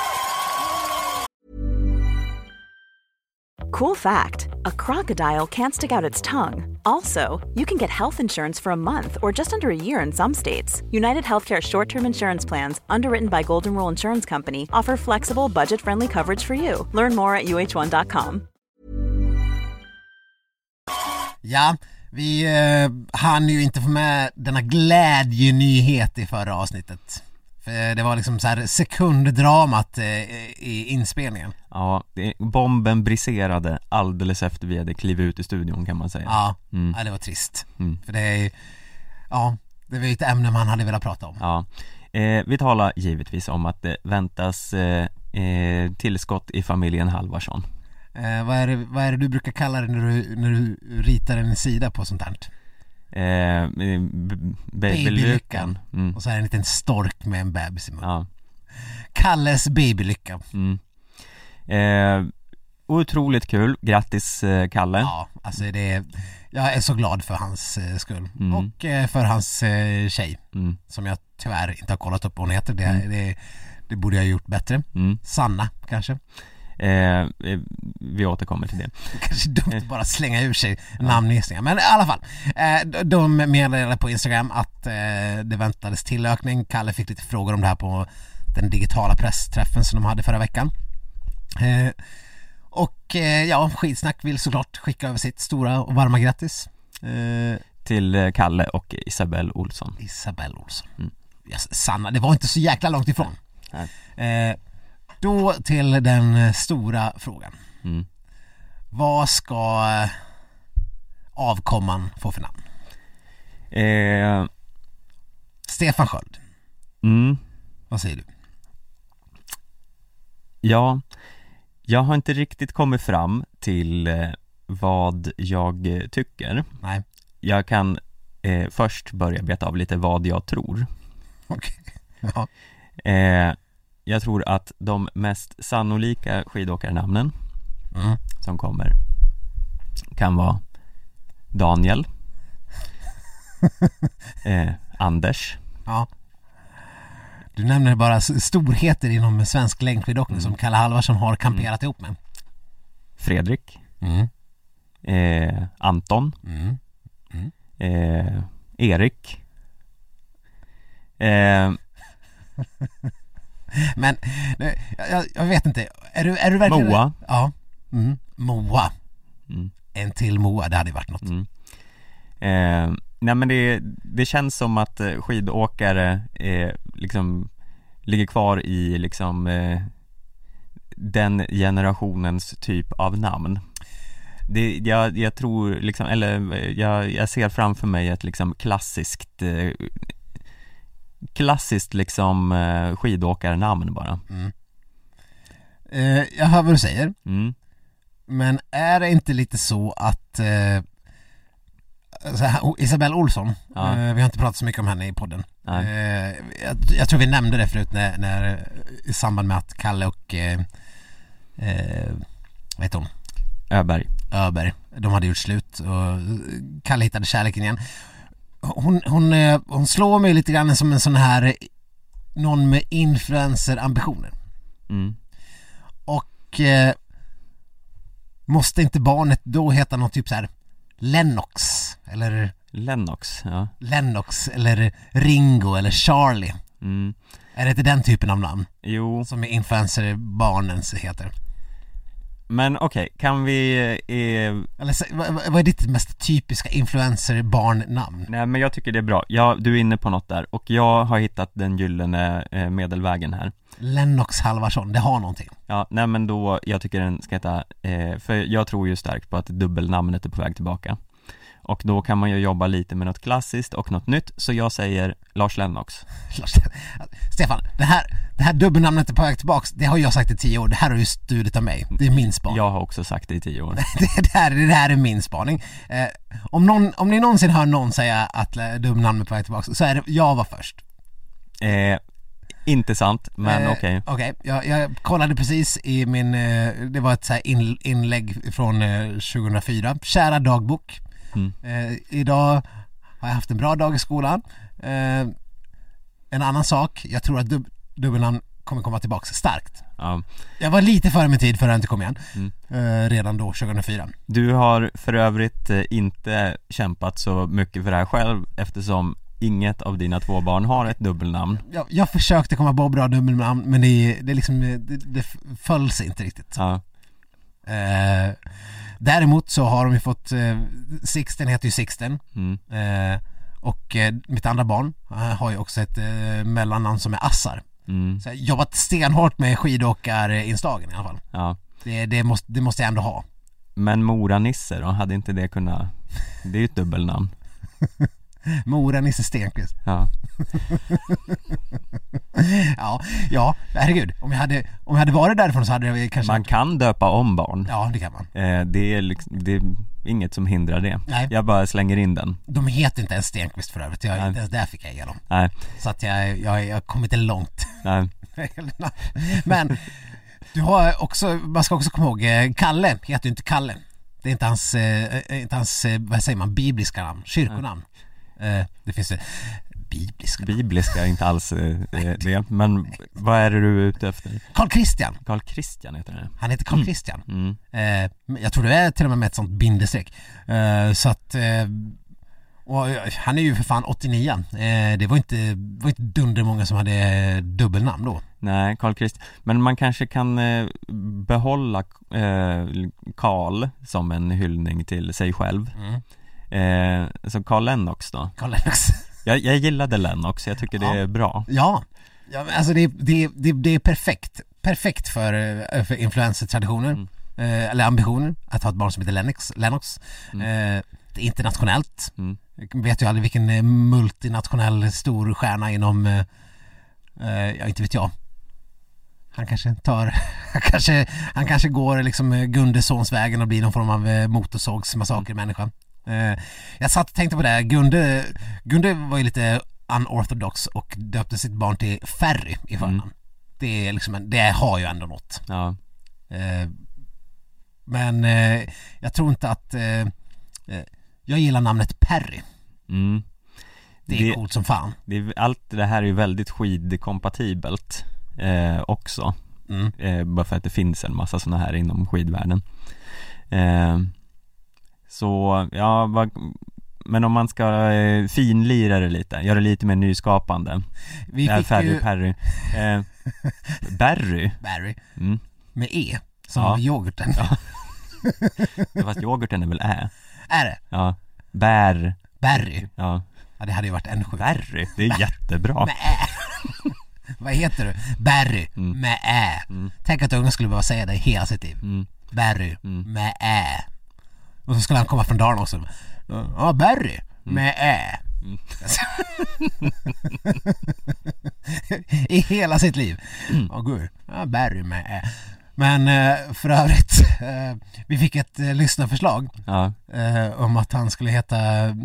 [SPEAKER 3] Cool fact a crocodile can't stick out its tongue. Also, you can get health insurance for a month or just under a year in some states. United Healthcare short term insurance plans, underwritten by Golden Rule Insurance Company, offer flexible, budget friendly coverage for you. Learn more at uh1.com.
[SPEAKER 1] Ja, vi eh, hann ju inte få med denna glädjenyhet i förra avsnittet. För det var liksom så här sekunddramat eh, i inspelningen.
[SPEAKER 2] Ja, det, bomben briserade alldeles efter vi hade klivit ut i studion kan man säga.
[SPEAKER 1] Ja,
[SPEAKER 2] Mm.
[SPEAKER 1] ja det var trist.
[SPEAKER 2] Mm.
[SPEAKER 1] För det är ja, det var ju ett ämne man hade velat prata om.
[SPEAKER 2] Ja, eh, vi talar givetvis om att det väntas eh, eh, tillskott i familjen Halvarsson.
[SPEAKER 1] Eh, vad, är det, vad är det du brukar kalla det när du, när du ritar en sida på sånt här?
[SPEAKER 2] Eh, b- b-
[SPEAKER 1] Babylyckan.
[SPEAKER 2] Babylyckan. Mm.
[SPEAKER 1] Och så är det en liten stork med en bebis i munnen.
[SPEAKER 2] Ja.
[SPEAKER 1] Kalles babylycka.
[SPEAKER 2] Mm. Eh, otroligt kul, grattis eh, Kalle.
[SPEAKER 1] Ja, alltså det är, jag är så glad för hans eh, skull.
[SPEAKER 2] Mm.
[SPEAKER 1] Och eh, för hans eh, tjej,
[SPEAKER 2] Mm.
[SPEAKER 1] som jag tyvärr inte har kollat upp vad hon heter. Det, det, det borde jag ha gjort bättre.
[SPEAKER 2] Mm.
[SPEAKER 1] Sanna, kanske.
[SPEAKER 2] Eh, eh, vi återkommer till det.
[SPEAKER 1] Kanske dumt
[SPEAKER 2] Mm.
[SPEAKER 1] att bara slänga ur sig namngissningar. Men i alla fall. Eh, de- De meddelade på Instagram att eh, det väntades tillökning. Kalle fick lite frågor om det här på den digitala pressträffen som de hade förra veckan. Eh, Och eh, ja, Skitsnack vill såklart skicka över sitt stora och varma grattis. Eh,
[SPEAKER 2] Till eh, Kalle och Isabelle Olsson.
[SPEAKER 1] Isabelle Olsson.
[SPEAKER 2] Mm.
[SPEAKER 1] Ja, Sanna, det var inte så jäkla långt ifrån.
[SPEAKER 2] Nej.
[SPEAKER 1] Eh, Då till den eh, stora frågan.
[SPEAKER 2] Mm.
[SPEAKER 1] Vad ska eh, avkomman få för namn?
[SPEAKER 2] Eh,
[SPEAKER 1] Stefan Sköld,
[SPEAKER 2] mm.
[SPEAKER 1] vad säger du?
[SPEAKER 2] Ja, jag har inte riktigt kommit fram till eh, vad jag eh, tycker.
[SPEAKER 1] Nej,
[SPEAKER 2] Jag kan eh, först börja beta av lite vad jag tror.
[SPEAKER 1] okej. Ja.
[SPEAKER 2] Eh, jag tror att de mest sannolika skidåkarnamnen
[SPEAKER 1] Mm.
[SPEAKER 2] som kommer kan vara Daniel, eh, Anders,
[SPEAKER 1] ja. Du nämner bara s- storheter inom svensk längdskidåkning som Kalle Halvarsson har kamperat ihop med.
[SPEAKER 2] Fredrik,
[SPEAKER 1] Mm.
[SPEAKER 2] eh, Anton,
[SPEAKER 1] Mm.
[SPEAKER 2] eh, Erik. Eh,
[SPEAKER 1] Men, nu, jag, jag vet inte, är du, är du verkligen...
[SPEAKER 2] Moa.
[SPEAKER 1] Ja. Mm. Moa.
[SPEAKER 2] Mm.
[SPEAKER 1] En till Moa, det hade ju varit något.
[SPEAKER 2] Mm. Eh, nej men det, det känns som att eh, skidåkare eh, liksom ligger kvar i liksom eh, den generationens typ av namn. Det, jag, jag tror liksom, eller eh, jag, jag ser framför mig ett liksom klassiskt eh, klassiskt liksom eh, skidåkarnamn bara.
[SPEAKER 1] Eh, jag hör vad du säger,
[SPEAKER 2] Mm.
[SPEAKER 1] men är det inte lite så att eh, så här, o- Isabelle Olsson,
[SPEAKER 2] Ja.
[SPEAKER 1] eh, vi har inte pratat så mycket om henne i podden.
[SPEAKER 2] Nej.
[SPEAKER 1] Eh, jag, jag tror vi nämnde det förut när, när, i samband med att Kalle och, eh, eh, vad heter hon,
[SPEAKER 2] Öberg.
[SPEAKER 1] Öberg, de hade gjort slut och eh, Kalle hittade kärleken igen. Hon, hon, eh, hon slår mig lite grann som en sån här, eh, någon med influencer-ambitioner.
[SPEAKER 2] Mm.
[SPEAKER 1] Och eh, måste inte barnet då heta någon typ så här Lennox eller
[SPEAKER 2] Lennox, ja.
[SPEAKER 1] Lennox eller Ringo eller Charlie?
[SPEAKER 2] Mm.
[SPEAKER 1] Är det inte den typen av namn
[SPEAKER 2] Jo.
[SPEAKER 1] som är influencer-barnens heter?
[SPEAKER 2] Men okej, kan vi... Eh,
[SPEAKER 1] Eller, så- vad, vad vad är ditt mest typiska influencer-barnnamn?
[SPEAKER 2] nej men jag tycker det är bra. Ja, du är inne på något där och jag har hittat den gyllene eh, medelvägen här.
[SPEAKER 1] Lennox Halvarsson, det har någonting.
[SPEAKER 2] Ja, nej men då, jag tycker den ska heta, eh, för jag tror ju starkt på att dubbelnamnet är på väg tillbaka. Och då kan man ju jobba lite med något klassiskt och något nytt, så jag säger Lars Lennox.
[SPEAKER 1] Lars- Stefan, det här, det här dubbelnamnet är på väg tillbaks, det har jag sagt i tio år, det här har du stulit av mig. Det är min spaning.
[SPEAKER 2] Jag har också sagt det i tio år.
[SPEAKER 1] Det, det, här, det här är min spaning. Eh, om, någon, om ni någonsin hör någon säga att eh, dubbelnamnet är på väg tillbaks, så är det, jag var först.
[SPEAKER 2] Eh, inte sant, men
[SPEAKER 1] Eh,
[SPEAKER 2] okej.
[SPEAKER 1] Okej, jag, jag kollade precis i min, eh, det var ett så här in, inlägg från eh, 2004, kära dagbok.
[SPEAKER 2] Mm.
[SPEAKER 1] Eh, idag har jag haft en bra dag i skolan. Eh, en annan sak, jag tror att dub, dubbelnamn kommer komma tillbaks starkt.
[SPEAKER 2] Ja.
[SPEAKER 1] Jag var lite före min tid för att jag inte kom igen,
[SPEAKER 2] Mm.
[SPEAKER 1] eh, redan då 2004.
[SPEAKER 2] Du har för övrigt eh, inte kämpat så mycket för det här själv eftersom inget av dina två barn har ett dubbelnamn.
[SPEAKER 1] Jag, jag försökte komma på bra dubbelnamn men det, det, liksom, eh, det, det föll sig inte riktigt.
[SPEAKER 2] Ja.
[SPEAKER 1] Eh, däremot så har de ju fått, eh, Sixten heter ju Sixten
[SPEAKER 2] Mm.
[SPEAKER 1] eh, och eh, mitt andra barn eh, har ju också ett eh, mellannamn som är Assar.
[SPEAKER 2] Mm.
[SPEAKER 1] Så jag har jobbat stenhårt med skidåkarinslagen i alla fall.
[SPEAKER 2] Ja.
[SPEAKER 1] Det, det, måste, det måste jag ändå ha.
[SPEAKER 2] Men Mora-Nisse då, hade inte det kunnat... Det är ju ett dubbelnamn.
[SPEAKER 1] Mora Nisse Stenqvist.
[SPEAKER 2] Ja.
[SPEAKER 1] Ja, ja, herregud. Om jag hade, om jag hade varit därifrån så hade jag kanske...
[SPEAKER 2] Man kan döpa om barn.
[SPEAKER 1] Ja, det kan man.
[SPEAKER 2] Eh, Det är, liksom, det är inget som hindrar det.
[SPEAKER 1] Nej.
[SPEAKER 2] Jag bara slänger in den.
[SPEAKER 1] De heter inte ens Stenqvist för övrigt. Jag,
[SPEAKER 2] Nej.
[SPEAKER 1] inte ens där fick jag igenom.
[SPEAKER 2] Nej,
[SPEAKER 1] Så att jag, jag, jag kom inte långt.
[SPEAKER 2] nej.
[SPEAKER 1] Men du har också, man ska också komma ihåg, eh, Kalle heter ju inte Kalle. Det är inte hans, eh, eh, inte hans eh, vad säger man, bibliska namn, kyrkonamn. Eh, Det finns det. Bibliska.
[SPEAKER 2] Bibliska är inte alls eh, eh, det. Men vad är det du är ute efter?
[SPEAKER 1] Karl Christian.
[SPEAKER 2] Karl Christian heter det.
[SPEAKER 1] Han heter Karl Christian.
[SPEAKER 2] Mm.
[SPEAKER 1] Eh, men Jag tror det är till och med med ett sånt bindestreck. Eh, Så att eh, och eh, han är ju för fan 89 Eh, Det var inte, var inte dundermånga som hade eh, dubbelnamn då.
[SPEAKER 2] Nej, Karl Christian. Men man kanske kan eh, behålla eh, Karl som en hyllning till sig själv.
[SPEAKER 1] Mm.
[SPEAKER 2] Eh, så Karl Lennox då.
[SPEAKER 1] Karl Lennox.
[SPEAKER 2] Jag, jag gillade Lennox, jag tycker det
[SPEAKER 1] Ja.
[SPEAKER 2] är bra.
[SPEAKER 1] Ja, ja men alltså det, det, det, det är perfekt. Perfekt för, eh, för influencertraditioner,
[SPEAKER 2] Mm.
[SPEAKER 1] eh, eller ambitioner, att ha ett barn som heter Lennox. Lennox. Eh, det är internationellt.
[SPEAKER 2] Mm.
[SPEAKER 1] Jag vet ju aldrig vilken eh, multinationell stor stjärna inom, eh, eh, ja inte vet jag. Han kanske tar, han kanske, han kanske går liksom eh, Gundessonsvägen och blir någon form av eh, motorsågsmassakermänniska. Eh, jag satt och tänkte på det, här. Gunde, Gunde var ju lite unorthodox och döpte sitt barn till Ferry i förnamn.
[SPEAKER 2] Mm.
[SPEAKER 1] Det, är liksom en, det har ju ändå något.
[SPEAKER 2] Ja.
[SPEAKER 1] Eh, men eh, jag tror inte att, eh, eh, jag gillar namnet Perry.
[SPEAKER 2] Mm.
[SPEAKER 1] Det är coolt som fan.
[SPEAKER 2] Det är, allt det här är ju väldigt skidkompatibelt eh, också.
[SPEAKER 1] Mm.
[SPEAKER 2] Eh, bara för att det finns en massa sådana här inom skidvärlden. Eh, så, ja, vad, men om man ska eh, finlira det lite, göra det lite mer nyskapande.
[SPEAKER 1] Vi
[SPEAKER 2] det här
[SPEAKER 1] fick
[SPEAKER 2] Ferry
[SPEAKER 1] ju
[SPEAKER 2] Perry. Eh, Berry?
[SPEAKER 1] Barry
[SPEAKER 2] Mm.
[SPEAKER 1] med E som
[SPEAKER 2] Ja.
[SPEAKER 1] yoghurten.
[SPEAKER 2] Ja. Fast yoghurten är väl ä?
[SPEAKER 1] Är det?
[SPEAKER 2] Ja. Bär.
[SPEAKER 1] Barry?
[SPEAKER 2] Ja.
[SPEAKER 1] Ja det hade ju varit en sjuk.
[SPEAKER 2] Berry. Det är jättebra.
[SPEAKER 1] Med Ä. Vad heter du? Barry
[SPEAKER 2] Mm.
[SPEAKER 1] med Ä.
[SPEAKER 2] Mm.
[SPEAKER 1] Tänk att ungen skulle behöva säga det hela sitt liv.
[SPEAKER 2] Mm.
[SPEAKER 1] Barry
[SPEAKER 2] Mm.
[SPEAKER 1] med ä. Och så skulle han komma från Dalarna också. Ja, Barry med ä.
[SPEAKER 2] Mm.
[SPEAKER 1] I hela sitt liv.
[SPEAKER 2] Mm.
[SPEAKER 1] Ja, gud. Ja, Barry med ä. Men eh, för övrigt, eh, vi fick ett eh, lyssnarförslag
[SPEAKER 2] Ja.
[SPEAKER 1] eh, om att han skulle heta eh,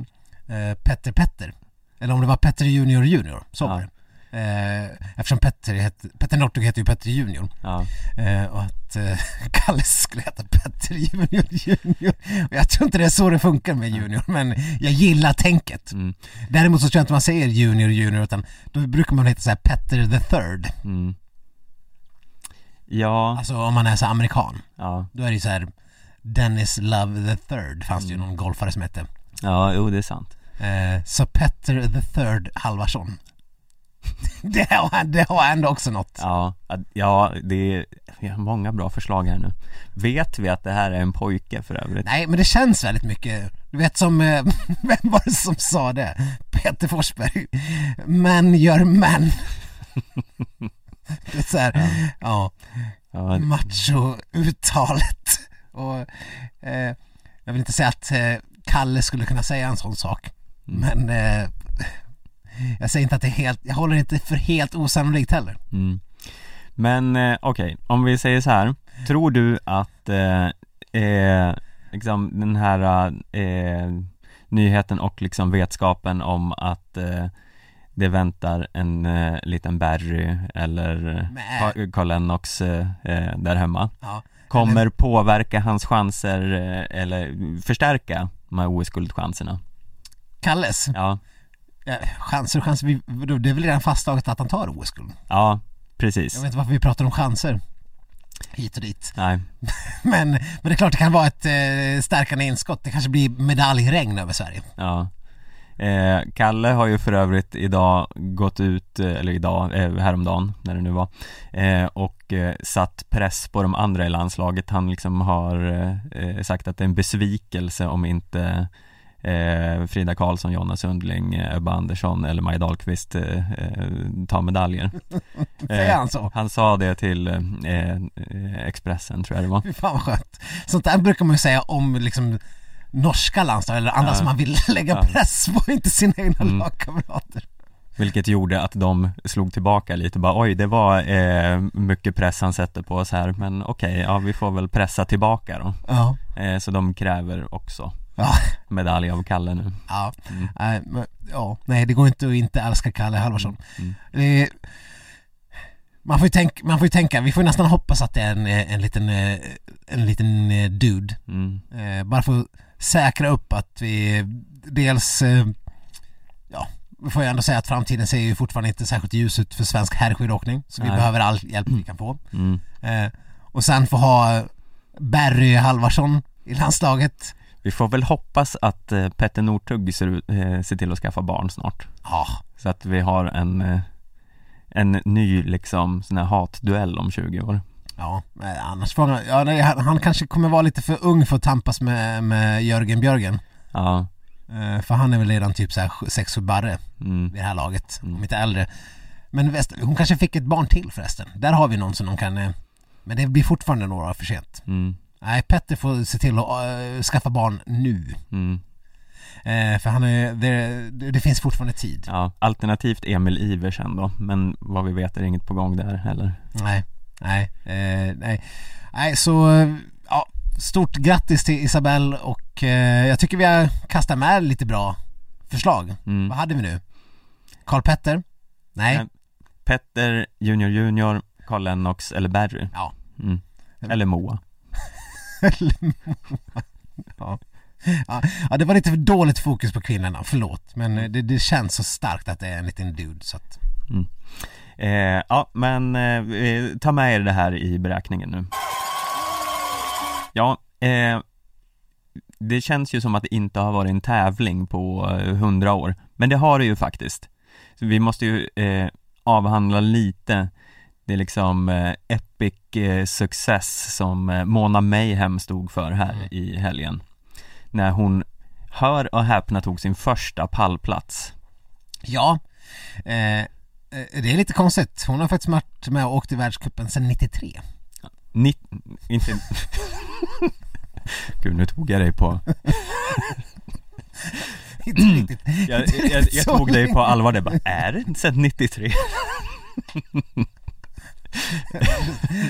[SPEAKER 1] Petter Petter. Eller om det var Petter Junior Junior, så var
[SPEAKER 2] Ja.
[SPEAKER 1] det. Eh, eftersom Petter, heter, Petter Northug heter ju Petter Junior.
[SPEAKER 2] Ja.
[SPEAKER 1] Eh, och att eh, Kalle skulle heta Petter Junior Junior. Och jag tror inte det är så det funkar med Junior, men jag gillar tänket.
[SPEAKER 2] Mm.
[SPEAKER 1] Däremot så tror jag inte man säger Junior Junior, utan då brukar man heta så här Petter the third.
[SPEAKER 2] Mm. Ja.
[SPEAKER 1] Alltså om man är så här amerikan,
[SPEAKER 2] Ja.
[SPEAKER 1] då är det ju så här Dennis Love the third, fanns det
[SPEAKER 2] Mm.
[SPEAKER 1] ju någon golfare som hette.
[SPEAKER 2] Ja, jo det är sant.
[SPEAKER 1] Eh, så Petter the third Halvarsson. Det har, det har ändå också något.
[SPEAKER 2] Ja, ja det är vi har många bra förslag här nu. Vet vi att det här är en pojke för övrigt?
[SPEAKER 1] Nej, men det känns väldigt mycket. Du vet som, eh, vem var det som sa det? Peter Forsberg. Män gör män. Det är så här, ja,
[SPEAKER 2] Ja,
[SPEAKER 1] macho-uttalet. Och eh, jag vill inte säga att eh, Kalle skulle kunna säga en sån sak. Men eh, jag säger inte att det är helt, jag håller det inte för helt osannolikt heller.
[SPEAKER 2] mm. Men eh, okej, om vi säger så här. Tror du att eh, eh, liksom den här eh, nyheten och liksom vetskapen om att eh, det väntar en eh, liten Barry eller
[SPEAKER 1] Nej.
[SPEAKER 2] Ka- Carl Lennox eh, eh, där hemma
[SPEAKER 1] Ja.
[SPEAKER 2] kommer påverka hans chanser eh, eller förstärka de här OS-guldchanserna?
[SPEAKER 1] Kalles,
[SPEAKER 2] Ja,
[SPEAKER 1] ja, chanser och chanser, vi, det är väl redan fastslaget att han tar OS-guld.
[SPEAKER 2] ja,
[SPEAKER 1] Jag
[SPEAKER 2] precis.
[SPEAKER 1] vet inte varför vi pratar om chanser hit och dit.
[SPEAKER 2] Nej,
[SPEAKER 1] Men, men det är klart det kan vara ett eh, stärkande inskott. Det kanske blir medaljregn över Sverige.
[SPEAKER 2] ja. Eh, Kalle har ju för övrigt idag gått ut, eh, eller idag, eh, häromdagen, när det nu var, eh, och eh, satt press på de andra i landslaget. Han liksom har eh, eh, sagt att det är en besvikelse om inte eh, Frida Karlsson, Jonna Sundling, eh, Ebba Andersson eller Maja Dahlqvist eh, eh, tar medaljer. Eh.
[SPEAKER 1] Säger han så?
[SPEAKER 2] Han sa det till eh, eh, Expressen tror jag det var.
[SPEAKER 1] Fy fan vad skönt. Sånt där brukar man ju säga om liksom norska landslag eller andra
[SPEAKER 2] Ja.
[SPEAKER 1] som man vill lägga
[SPEAKER 2] Ja.
[SPEAKER 1] press på, inte sina egna
[SPEAKER 2] Mm.
[SPEAKER 1] lagkamrater.
[SPEAKER 2] Vilket gjorde att de slog tillbaka lite bara oj det var eh, mycket press han sätter på oss här men okej, ja vi får väl pressa tillbaka då.
[SPEAKER 1] Ja.
[SPEAKER 2] Eh, så de kräver också
[SPEAKER 1] Ja.
[SPEAKER 2] medalj av Kalle nu.
[SPEAKER 1] Ja.
[SPEAKER 2] Mm.
[SPEAKER 1] Nej, men, ja. Nej, det går inte att inte älska Kalle Halvarsson.
[SPEAKER 2] Mm.
[SPEAKER 1] Eh, man, får ju tänka, man får ju tänka, vi får ju nästan hoppas att det är en, eh, en liten, eh, en liten eh, dude
[SPEAKER 2] Mm.
[SPEAKER 1] Eh, bara för att säkra upp att vi dels, eh, ja, vi får ju ändå säga att framtiden ser ju fortfarande inte särskilt ljus ut för svensk herrskidåkning. Så vi
[SPEAKER 2] Nej.
[SPEAKER 1] behöver all hjälp vi kan få.
[SPEAKER 2] Mm.
[SPEAKER 1] Eh, och sen få ha Barry Halvarsson i landslaget.
[SPEAKER 2] Vi får väl hoppas att eh, Petter Northug ser, ut- eh, ser till att skaffa barn snart.
[SPEAKER 1] Ja,
[SPEAKER 2] Så att vi har en, eh, en ny liksom sån här hatduell om 20 år.
[SPEAKER 1] ja, eh, annars får han, ja, nej, han, han kanske kommer vara lite för ung för att tampas med, med Jörgen Björgen.
[SPEAKER 2] Ja,
[SPEAKER 1] Eh, för han är väl redan typ såhär 6-7 barre
[SPEAKER 2] mm.
[SPEAKER 1] vid det här laget,
[SPEAKER 2] Mm.
[SPEAKER 1] om inte äldre. Men Wester, hon kanske fick ett barn till förresten. Där har vi någon som de kan... eh, Men det blir fortfarande några år för sent.
[SPEAKER 2] Mm.
[SPEAKER 1] Nej, Petter får se till att eh, skaffa barn nu.
[SPEAKER 2] Mm.
[SPEAKER 1] Eh, för han är, det, det det finns fortfarande tid.
[SPEAKER 2] Ja, alternativt Emil Iversen då, men vad vi vet är det inget på gång där heller.
[SPEAKER 1] Nej, nej, eh, nej. Nej, så... eh, Ja, stort grattis till Isabelle och eh, jag tycker vi har kastat med lite bra förslag.
[SPEAKER 2] Mm.
[SPEAKER 1] Vad hade vi nu? Karl Petter? Nej.
[SPEAKER 2] Nej. Petter, Junior Junior, Carl Lennox eller Barry?
[SPEAKER 1] Ja.
[SPEAKER 2] Mm. Eller Moa.
[SPEAKER 1] ja. Ja, ja, det var lite för dåligt fokus på kvinnorna, förlåt. Men eh, det, det känns så starkt att det är en liten dude så att...
[SPEAKER 2] Eh, ja, men eh, eh, ta med er det här i beräkningen nu. Ja, eh, det känns ju som att det inte har varit en tävling på eh, hundra år, men det har det ju faktiskt. Så vi måste ju eh, avhandla lite det är liksom eh, epic eh, success som eh, Mona Mayhem stod för här
[SPEAKER 1] Mm.
[SPEAKER 2] i helgen. När hon, hör och häpna, tog sin första pallplats.
[SPEAKER 1] Ja, eh, eh, det är lite konstigt. Hon har faktiskt varit med och åkt i världscupen sedan 93.
[SPEAKER 2] Ni, inte... Gud, nu tog jag dig på...
[SPEAKER 1] Inte riktigt.
[SPEAKER 2] Jag,
[SPEAKER 1] inte
[SPEAKER 2] jag,
[SPEAKER 1] riktigt
[SPEAKER 2] jag
[SPEAKER 1] så
[SPEAKER 2] tog dig
[SPEAKER 1] länge.
[SPEAKER 2] på allvar där bara, är det inte sedan 93?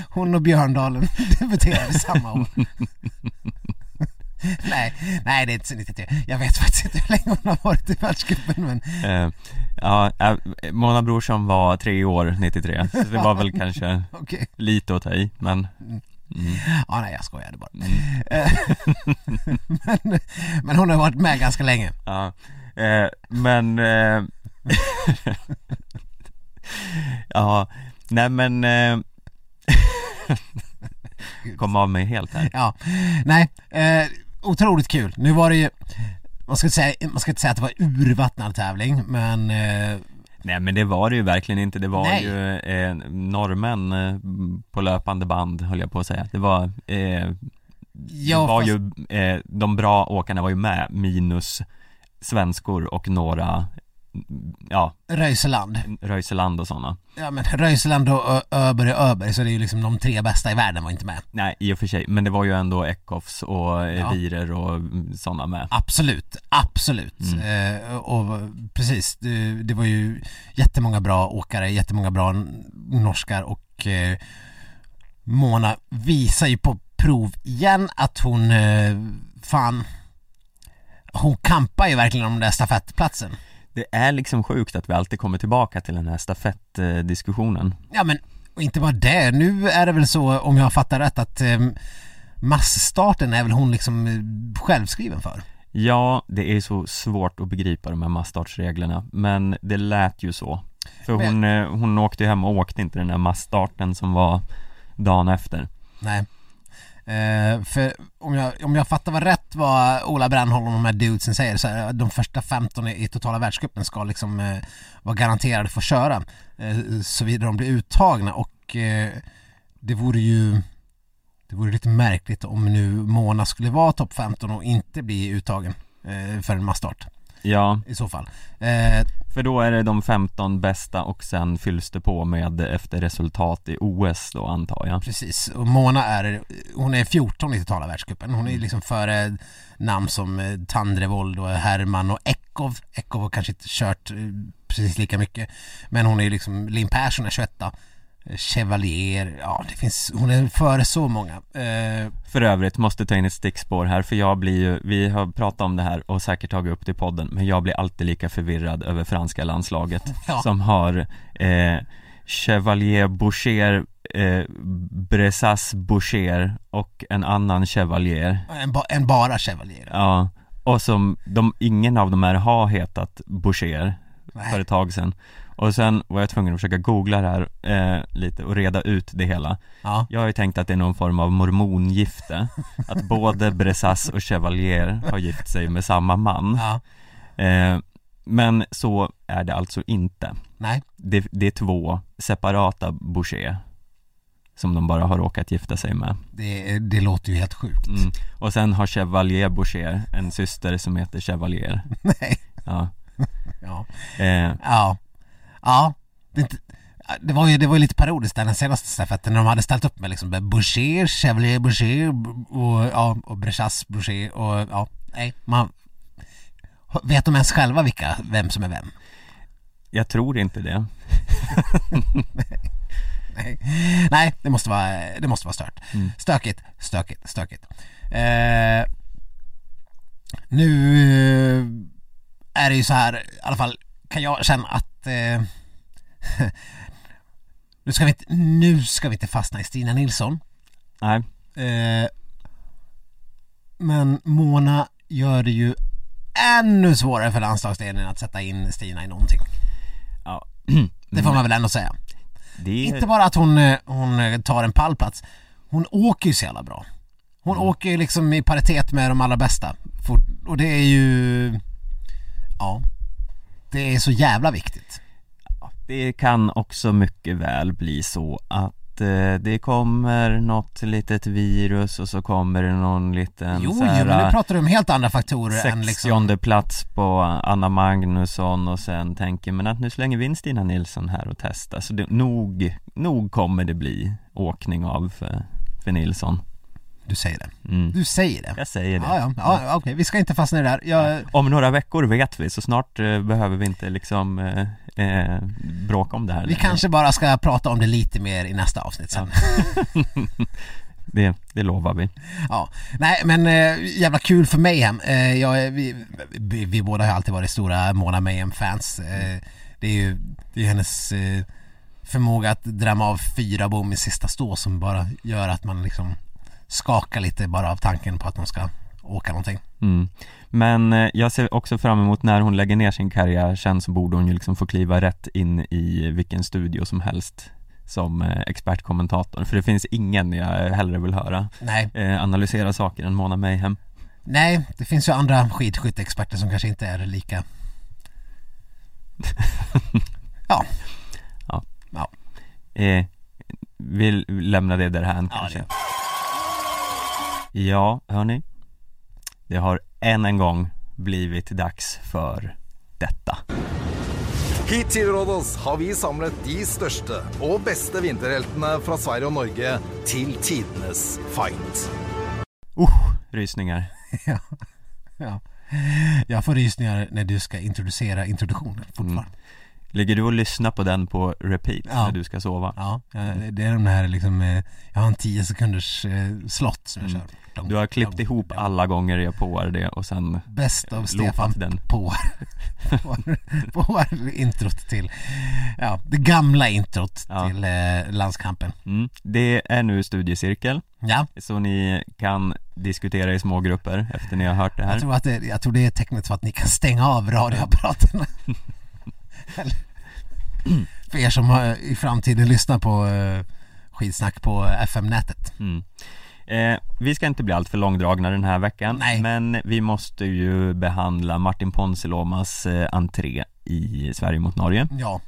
[SPEAKER 1] Hon och Björndalen debuterade samma år. nej, nej det är inte sedan 93. Jag vet faktiskt inte hur länge hon har varit i världscupen men
[SPEAKER 2] Eh, ja, eh, Mona Brorsson var tre år 93, så det var väl kanske
[SPEAKER 1] okej.
[SPEAKER 2] lite åt dig, men... Mm,
[SPEAKER 1] Ja, nej jag skojade bara.
[SPEAKER 2] mm,
[SPEAKER 1] Eh, men, men hon har varit med ganska länge.
[SPEAKER 2] ja. Eh, men... Eh, ja, nej men... Eh, kom av mig helt här.
[SPEAKER 1] Ja, nej, eh, otroligt kul. Nu var det ju, man ska, inte säga, man ska inte säga att det var urvattnad tävling, men eh,
[SPEAKER 2] Nej men det var det ju verkligen inte, det var
[SPEAKER 1] Nej.
[SPEAKER 2] ju eh, norrmän eh, på löpande band höll jag på att säga. Det var, eh, det
[SPEAKER 1] Ja,
[SPEAKER 2] var
[SPEAKER 1] fast,
[SPEAKER 2] ju, eh, de bra åkarna var ju med, minus svenskor och några, mm, ja,
[SPEAKER 1] Röiseland.
[SPEAKER 2] Röiseland och sådana.
[SPEAKER 1] Ja men Röiseland och Ö- Öberg och Öberg så det är ju liksom de tre bästa i världen var inte med.
[SPEAKER 2] Nej i och för sig, men det var ju ändå Eckhoffs och eh,
[SPEAKER 1] Ja.
[SPEAKER 2] Wierer och mm, sådana med.
[SPEAKER 1] Absolut, absolut. Eh, och precis, det, det var ju jättemånga bra åkare, jättemånga bra n- norskar och eh, Mona visar ju på prov igen att hon, eh, fan, hon kampar ju verkligen om den där stafettplatsen.
[SPEAKER 2] Det är liksom sjukt att vi alltid kommer tillbaka till den här stafettdiskussionen.
[SPEAKER 1] Ja men, och inte bara det. Nu är det väl så, om jag fattar rätt, att eh, massstarten är väl hon liksom eh, självskriven för.
[SPEAKER 2] Ja, det är så svårt att begripa de här massstartsreglerna, men det lät ju så. För
[SPEAKER 1] Men-
[SPEAKER 2] hon, eh, hon åkte ju hem och åkte inte den där massstarten som var dagen efter.
[SPEAKER 1] Nej. Eh, för om jag, om jag fattar vad rätt vad Ola Brännholm och de här dudesen säger så är de första 15 i, i totala världscupen ska liksom eh, vara garanterade få köra eh, såvida de blir uttagna och eh, det vore ju det vore lite märkligt om nu Mona skulle vara topp 15 och inte bli uttagen eh, för en massstart
[SPEAKER 2] Ja,
[SPEAKER 1] i så fall. Eh,
[SPEAKER 2] för då är det de 15 bästa och sen fylls det på med efter resultat i OS då antar jag.
[SPEAKER 1] Precis, och Mona är, hon är 14 i totala världscupen. Hon
[SPEAKER 2] Mm.
[SPEAKER 1] är liksom före namn som eh, Tandrevold och Herman och Ekov. Ekov har kanske inte kört eh, precis lika mycket. Men hon är liksom, Linn Persson är 21 eh, Chevalier, ja det finns, hon är före så många. Eh,
[SPEAKER 2] För övrigt måste ta in ett stickspår här för jag blir ju, vi har pratat om det här och säkert tagit upp det i podden men jag blir alltid lika förvirrad över franska landslaget
[SPEAKER 1] Ja.
[SPEAKER 2] som har eh, Chevalier Boucher, eh, Bressas Boucher och en annan Chevalier
[SPEAKER 1] en, ba, en bara Chevalier.
[SPEAKER 2] Ja, och som de, ingen av de här har hetat Boucher för
[SPEAKER 1] Nej,
[SPEAKER 2] ett tag sedan och sen var jag tvungen att försöka googla det här eh, lite och reda ut det hela
[SPEAKER 1] ja.
[SPEAKER 2] jag har ju tänkt att det är någon form av mormongifte Att både Bressas och Chevalier har gift sig med samma man
[SPEAKER 1] ja,
[SPEAKER 2] eh, Men så är det alltså inte
[SPEAKER 1] nej,
[SPEAKER 2] det, det är två separata Boucher Som de bara har råkat gifta sig med
[SPEAKER 1] det, det låter ju helt sjukt.
[SPEAKER 2] mm. Och sen har Chevalier Boucher en syster som heter Chevalier
[SPEAKER 1] Nej,
[SPEAKER 2] Ja,
[SPEAKER 1] ja.
[SPEAKER 2] eh,
[SPEAKER 1] Ja. Ja. Det, är inte, det var ju det var ju lite parodiskt där den senaste stafetten när de hade ställt upp med liksom Boucher, Chevalier Boucher och, ja, och Brechas Boucher och ja, nej, man Vet de ens själva vilka, vem som är vem?
[SPEAKER 2] jag tror inte det
[SPEAKER 1] Nej, nej det, måste vara, det måste vara stört.
[SPEAKER 2] Mm.
[SPEAKER 1] Stökigt, stökigt, stökigt. Eh, nu eh, är det ju så här, i alla fall kan jag känna att eh, nu, ska vi inte, nu ska vi inte fastna i Stina Nilsson.
[SPEAKER 2] Nej,
[SPEAKER 1] Eh, men Mona gör det ju ännu svårare för landslagsdelen att sätta in Stina i någonting.
[SPEAKER 2] ja
[SPEAKER 1] Det
[SPEAKER 2] Mm.
[SPEAKER 1] får man väl ändå säga.
[SPEAKER 2] det
[SPEAKER 1] Inte bara att hon, eh, hon eh, tar en pallplats, hon åker ju så jävla bra. Hon
[SPEAKER 2] Mm.
[SPEAKER 1] åker ju liksom i paritet med de allra bästa. Fort- Och det är ju... Ja. Det är så jävla viktigt.
[SPEAKER 2] Det kan också mycket väl bli så att eh, det kommer något litet virus och så kommer det någon liten
[SPEAKER 1] Jo,
[SPEAKER 2] så
[SPEAKER 1] jo, men nu
[SPEAKER 2] här, eh,
[SPEAKER 1] pratar du om helt andra faktorer än liksom...
[SPEAKER 2] 60 plats på Anna Magnusson och sen tänker man att nu slänger vi in Stina Nilsson här och testar så det, nog, nog kommer det bli åkning av för, för Nilsson
[SPEAKER 1] Du säger det.
[SPEAKER 2] mm.
[SPEAKER 1] Du säger det.
[SPEAKER 2] Jag säger det
[SPEAKER 1] Ja, ja, ja okej, vi ska inte fastna i det där. Jag,
[SPEAKER 2] Om några veckor vet vi, så snart eh, behöver vi inte liksom eh, eh, bråka om det här
[SPEAKER 1] vi
[SPEAKER 2] längre.
[SPEAKER 1] kanske bara ska prata om det lite mer i nästa avsnitt sen.
[SPEAKER 2] det, det lovar vi
[SPEAKER 1] Ja, nej men eh, jävla kul för Mayhem. Eh, jag, är- vi, vi, vi båda har alltid varit stora Mona Mayhem-fans. Eh, det är ju det är hennes eh, förmåga att drämma av fyra bom i sista stå som bara gör att man liksom skakar lite bara av tanken på att de ska åka någonting.
[SPEAKER 2] Mm. Men eh, jag ser också fram emot när hon lägger ner sin karriär sen så borde hon ju liksom få kliva rätt in i vilken studio som helst som eh, expertkommentator, för det finns ingen jag hellre vill höra
[SPEAKER 1] Nej,
[SPEAKER 2] eh, analysera saker än Mona Mayhem.
[SPEAKER 1] nej det finns ju andra skidskytteexperter som kanske inte är lika Ja.
[SPEAKER 2] Ja.
[SPEAKER 1] ja.
[SPEAKER 2] Eh, vi lämnar det därhän
[SPEAKER 1] Ja,
[SPEAKER 2] kanske Ja, hörni Det har än en gång blivit dags för detta
[SPEAKER 4] Hit tilråd oss har vi samlet de største og beste vinterheltene fra Sverige og Norge til tidenes fight.
[SPEAKER 2] Oh, rysningar
[SPEAKER 1] ja. ja. Jag får rysningar när du ska introducera introduktionen fortfarande.
[SPEAKER 2] Ligger du och lyssnar på den på repeat
[SPEAKER 1] Ja.
[SPEAKER 2] när du ska sova?
[SPEAKER 1] Ja, eh, det är de här liksom, eh, jag har en 10 sekunders eh, slott som jag kör. Dong,
[SPEAKER 2] Mm. Du har klippt
[SPEAKER 1] dong,
[SPEAKER 2] ihop
[SPEAKER 1] dong.
[SPEAKER 2] alla gånger jag påar det och sen
[SPEAKER 1] Bäst av
[SPEAKER 2] loopat
[SPEAKER 1] Stefan
[SPEAKER 2] den.
[SPEAKER 1] på, på, på introt till, ja, det gamla introt
[SPEAKER 2] Ja.
[SPEAKER 1] till eh, landskampen.
[SPEAKER 2] mm. Det är nu studiecirkel
[SPEAKER 1] Ja,
[SPEAKER 2] Så ni kan diskutera i små grupper efter ni har hört det
[SPEAKER 1] jag
[SPEAKER 2] här
[SPEAKER 1] tror, att det, jag tror det är tecknet för att ni kan stänga av radioapparaterna. Eller- för er som har, i framtiden lyssnar på eh, skitsnack på FM-nätet.
[SPEAKER 2] Mm. Eh, vi ska inte bli alltför långdragna den här veckan,
[SPEAKER 1] Nej.
[SPEAKER 2] men vi måste ju behandla Martin Ponsiluomas eh, entré i Sverige mot Norge.
[SPEAKER 1] Ja,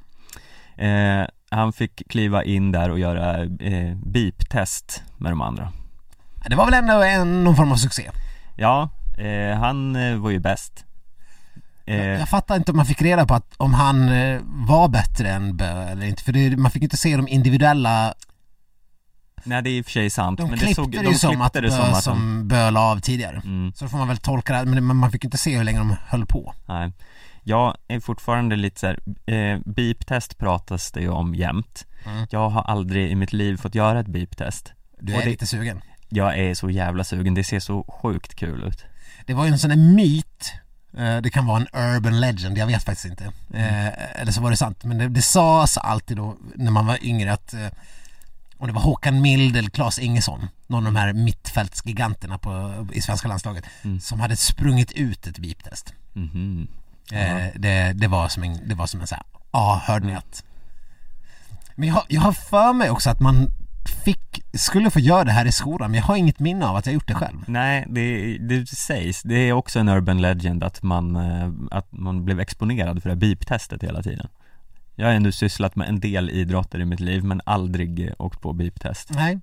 [SPEAKER 2] Eh, han fick kliva in där och göra eh, beep-test med de andra.
[SPEAKER 1] det var väl ändå en, någon form av succé.
[SPEAKER 2] Ja, eh, han eh, var ju bäst.
[SPEAKER 1] Jag,
[SPEAKER 2] Eh,
[SPEAKER 1] jag fattar inte om man fick reda på att om han eh, var bättre än Bö eller inte, för det, man fick inte se de individuella,
[SPEAKER 2] nej, det är i och för sig sant,
[SPEAKER 1] de
[SPEAKER 2] men det
[SPEAKER 1] klippte
[SPEAKER 2] såg, de
[SPEAKER 1] det ju som att
[SPEAKER 2] klippte
[SPEAKER 1] Bö
[SPEAKER 2] det som att
[SPEAKER 1] som
[SPEAKER 2] han...
[SPEAKER 1] Bö la av tidigare.
[SPEAKER 2] Mm,
[SPEAKER 1] Så då får man väl tolka det, här, men det- men man fick inte se hur länge de höll på.
[SPEAKER 2] nej. Jag är fortfarande lite såhär, eh, beep-test pratas det ju om jämt.
[SPEAKER 1] Mm.
[SPEAKER 2] Jag har aldrig i mitt liv fått göra ett beep-test.
[SPEAKER 1] Du
[SPEAKER 2] Och
[SPEAKER 1] är
[SPEAKER 2] det-
[SPEAKER 1] lite sugen.
[SPEAKER 2] Jag är så jävla sugen, det ser så sjukt kul ut
[SPEAKER 1] Det var ju en sån där myt, eh, det kan vara en urban legend, jag vet faktiskt inte. Eh, Eller så var det sant, men det, det sades alltid då när man var yngre att eh, om det var Håkan Mild eller Claes Ingesson, någon av de här mittfältsgiganterna på, i svenska landslaget,
[SPEAKER 2] Mm.
[SPEAKER 1] som hade sprungit ut ett beep-test.
[SPEAKER 2] Mhm.
[SPEAKER 1] Eh, det, det var som en, det var som en så här, ja hörde ni att Men jag, har- jag har för mig också att man fick, skulle få göra det här i skolan men jag har inget minne av att jag gjort det själv
[SPEAKER 2] Nej, det, det sägs, det är också en urban legend att man, eh, att man blev exponerad för det här beep-testet hela tiden Jag har ändå sysslat med en del idrotter i mitt liv men aldrig eh, åkt på beep-test
[SPEAKER 1] Nej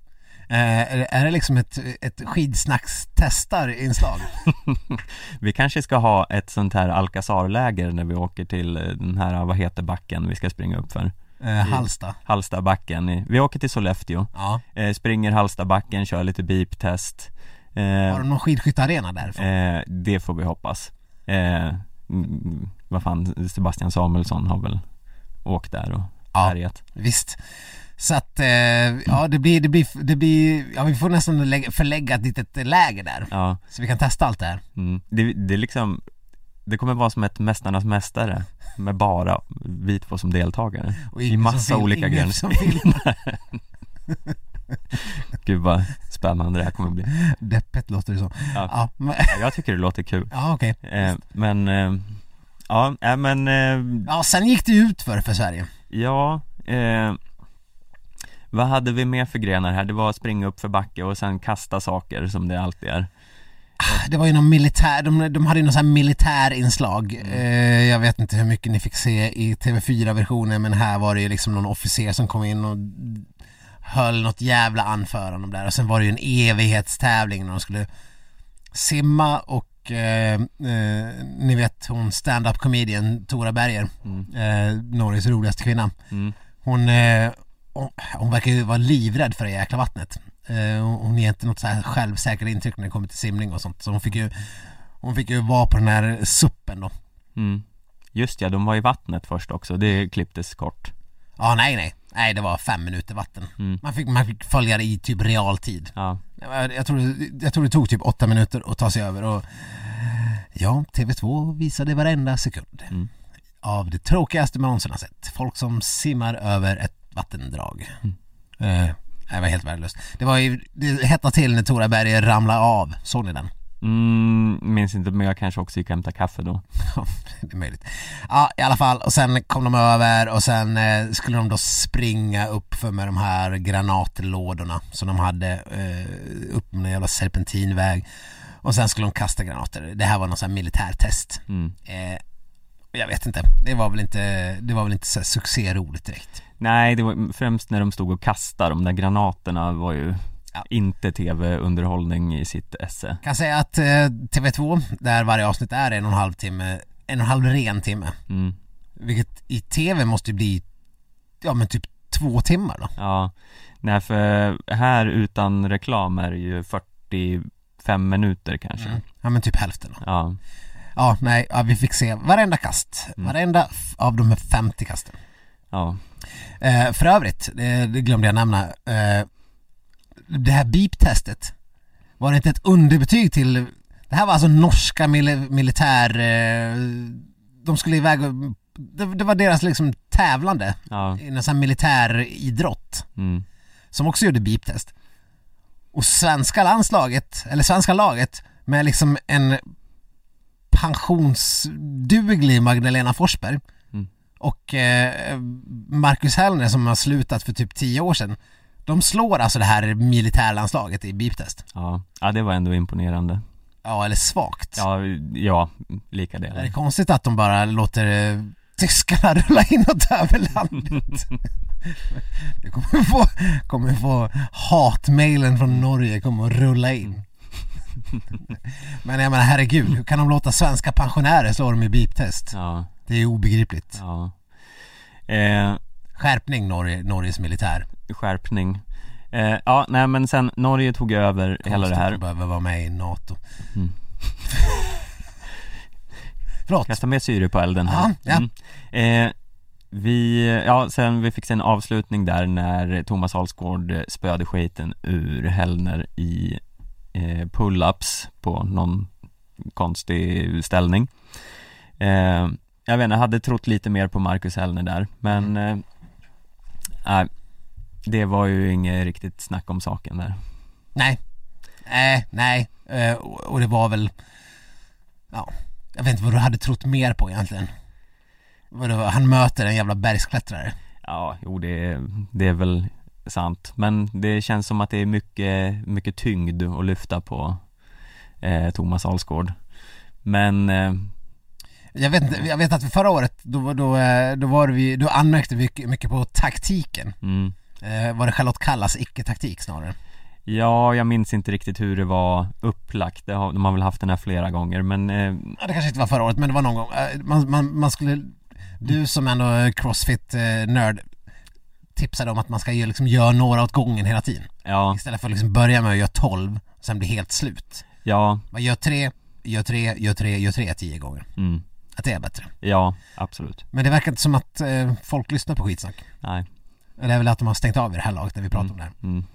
[SPEAKER 1] eh, är, det- är det liksom ett, ett skidsnackstestarinslag?
[SPEAKER 2] Vi kanske ska ha ett sånt här Alcazar-läger när vi åker till eh, den här, vad heter backen vi ska springa upp för?
[SPEAKER 1] Eh, Halsta?
[SPEAKER 2] Hallstabacken, i- vi åker till Sollefteå,
[SPEAKER 1] Ja,
[SPEAKER 2] eh, springer Hallstabacken, kör lite beep-test Eh,
[SPEAKER 1] har de någon skidskyttearena därifrån?
[SPEAKER 2] Eh, det får vi hoppas. Eh, mm, vad fan, Sebastian Samuelsson har väl åkt där och
[SPEAKER 1] Ja.
[SPEAKER 2] härjat.
[SPEAKER 1] Visst så att, eh, ja det blir, det blir, det blir, ja vi får nästan lägga- förlägga ett litet läger där
[SPEAKER 2] Ja.
[SPEAKER 1] Så vi kan testa allt det här
[SPEAKER 2] Mm. Det, det är liksom, det kommer vara som ett Mästarnas Mästare med bara vi två som deltagare.
[SPEAKER 1] Och
[SPEAKER 2] I
[SPEAKER 1] ingen som
[SPEAKER 2] massa
[SPEAKER 1] fil-
[SPEAKER 2] olika
[SPEAKER 1] ingen
[SPEAKER 2] grenar.
[SPEAKER 1] som filmar.
[SPEAKER 2] Gud vad spännande det här kommer bli.
[SPEAKER 1] Deppigt låter det som.
[SPEAKER 2] Ja.
[SPEAKER 1] Ja, men-
[SPEAKER 2] Jag tycker det låter kul.
[SPEAKER 1] ja okej.
[SPEAKER 2] Eh, men, eh, ja, äh, men eh,
[SPEAKER 1] Ja, sen gick det ju ut för för Sverige.
[SPEAKER 2] Ja, eh, vad hade vi mer för grenar här? Det var springa upp för backe och sen kasta saker som det alltid är.
[SPEAKER 1] Eh, Det var ju någon militär, de, de hade ju någon sån här militärinslag. Eh, jag vet inte hur mycket ni fick se i TV4-versionen men här var det ju liksom någon officer som kom in och höll något jävla anförande om det här. Och sen var det ju en evighetstävling när de skulle simma och eh, eh, ni vet hon stand-up comedian Tora Berger, eh, Norges roligaste kvinna.
[SPEAKER 2] Mm.
[SPEAKER 1] Hon, eh, hon, hon verkar ju vara livrädd för det jäkla vattnet. Eh, hon- hon ger inte något så här självsäkert intryck när det kommer till simning och sånt. Så hon fick ju, hon fick ju vara på den här suppen då.
[SPEAKER 2] Mm. Just ja, de var i vattnet först också, det klipptes kort.
[SPEAKER 1] Ja, nej, nej. Nej, det var fem minuter vatten.
[SPEAKER 2] Mm.
[SPEAKER 1] Man, fick, man fick följa det i typ realtid.
[SPEAKER 2] Ja.
[SPEAKER 1] Jag, jag, tror, det- jag tror det tog typ åtta minuter att ta sig över och ja, TV2 visade varenda sekund
[SPEAKER 2] Mm.
[SPEAKER 1] av det tråkigaste man någonsin har sett. Folk som simmar över ett vattendrag.
[SPEAKER 2] Mm.
[SPEAKER 1] Eh, det var helt värdelöst. Det var ju, det hettade till när Tora Berger ramlade av. Såg ni den?
[SPEAKER 2] Mm, minns inte, men jag kanske också gick och hämtade kaffe då.
[SPEAKER 1] Ja, det är möjligt. Ja, i alla fall. Och sen kom de över och sen eh, skulle de då springa upp för med de här granatlådorna som de hade eh, upp med en jävla serpentinväg. Och sen skulle de kasta granater. Det här var någon sån här militärtest.
[SPEAKER 2] Mm.
[SPEAKER 1] Eh, Jag vet inte, det var väl inte, det var väl inte så här succéroligt direkt.
[SPEAKER 2] Nej, det var främst när de stod och kastade de där granaterna var ju
[SPEAKER 1] Ja.
[SPEAKER 2] inte tv-underhållning i sitt esse.
[SPEAKER 1] Kan säga att eh, TV2, där varje avsnitt är en och en halv timme, en och en halv ren timme,
[SPEAKER 2] Mm.
[SPEAKER 1] vilket i TV måste ju bli, ja men typ två timmar då.
[SPEAKER 2] Ja, nej för här utan reklam är det ju 45 minuter kanske.
[SPEAKER 1] Mm. Ja men typ hälften då.
[SPEAKER 2] Ja.
[SPEAKER 1] Ja, nej, ja, vi fick se varenda kast,
[SPEAKER 2] Mm.
[SPEAKER 1] varenda f- av de här 50 kasten.
[SPEAKER 2] Ja,
[SPEAKER 1] Eh, för övrigt, det, det glömde jag nämna. Eh, det här beep-testet, var det inte ett underbetyg till... Det här var alltså norska mil- militär... Eh, de skulle iväg och... Det, det var deras liksom tävlande
[SPEAKER 2] ja,
[SPEAKER 1] i en sån här militäridrott
[SPEAKER 2] mm.
[SPEAKER 1] som också gjorde beep-test. Och svenska landslaget, eller svenska laget med liksom en pensionsduglig Magdalena Forsberg
[SPEAKER 2] Mm.
[SPEAKER 1] och eh, Marcus Hellner som har slutat för typ 10 år sedan. De slår alltså det här militärlandslaget i beep-test.
[SPEAKER 2] ja. Ja, det var ändå imponerande.
[SPEAKER 1] Ja, eller svagt.
[SPEAKER 2] Ja, ja, lika
[SPEAKER 1] Det är
[SPEAKER 2] delar.
[SPEAKER 1] konstigt att de bara låter eh, tyskarna rulla inåt över landet. Vi kommer få, kommer få hatmailen från Norge kommer att rulla in. Men jag menar herregud, hur kan de låta svenska pensionärer slå dem i beep-test?
[SPEAKER 2] Ja,
[SPEAKER 1] Det är obegripligt.
[SPEAKER 2] ja. Eh,
[SPEAKER 1] Skärpning Norge, Norges militär.
[SPEAKER 2] skärpning. Eh, ja, nej men sen Norge tog över hela det
[SPEAKER 1] Konstigt
[SPEAKER 2] här.
[SPEAKER 1] att behöva vara med i NATO.
[SPEAKER 2] Mm.
[SPEAKER 1] Förlåt.
[SPEAKER 2] Kasta mer syre på elden här.
[SPEAKER 1] Ja, ja.
[SPEAKER 2] Mm. Eh, vi, ja, sen vi fick se en avslutning där när Thomas Alsgaard spöade skiten ur Hellner i eh, pull-ups på någon konstig ställning. Eh, jag vet inte, jag hade trott lite mer på Marcus Hellner där, men
[SPEAKER 1] Mm.
[SPEAKER 2] eh, nej, det var ju inget riktigt snack om saken där.
[SPEAKER 1] Nej. Nej, nej. Eh, och och det var väl... Ja, jag vet inte vad du hade trott mer på egentligen. Vadå, han möter en jävla bergsklättrare.
[SPEAKER 2] Ja, jo det, det är väl sant Men det känns som att det är mycket, mycket tyngd att lyfta på eh, Thomas Alsgaard Men, eh,
[SPEAKER 1] Jag vet, inte, jag vet att förra året, då, då, eh, då, var vi, då anmärkte vi mycket- mycket på taktiken.
[SPEAKER 2] mm,
[SPEAKER 1] Eh, var det Charlotte Kallas icke-taktik snarare?
[SPEAKER 2] ja jag minns inte riktigt hur det var upplagt Det har, De har väl haft den här flera gånger men eh,
[SPEAKER 1] Ja, det kanske inte var förra året, men det var någon gång. Eh, Man, man, man skulle... Du som ändå är crossfit-nörd tipsade om att man ska ju liksom göra några åt gången hela tiden.
[SPEAKER 2] ja,
[SPEAKER 1] Istället för att liksom börja med att göra 12, sen bli helt slut.
[SPEAKER 2] ja,
[SPEAKER 1] Man gör tre, gör tre, gör tre, gör tre tio gånger.
[SPEAKER 2] mm,
[SPEAKER 1] Att det är bättre.
[SPEAKER 2] ja absolut
[SPEAKER 1] Men det verkar inte som att eh, folk lyssnar på skitsnack.
[SPEAKER 2] Nej,
[SPEAKER 1] Eller det är väl att de har stängt av i det här laget när vi pratar om det
[SPEAKER 2] mm,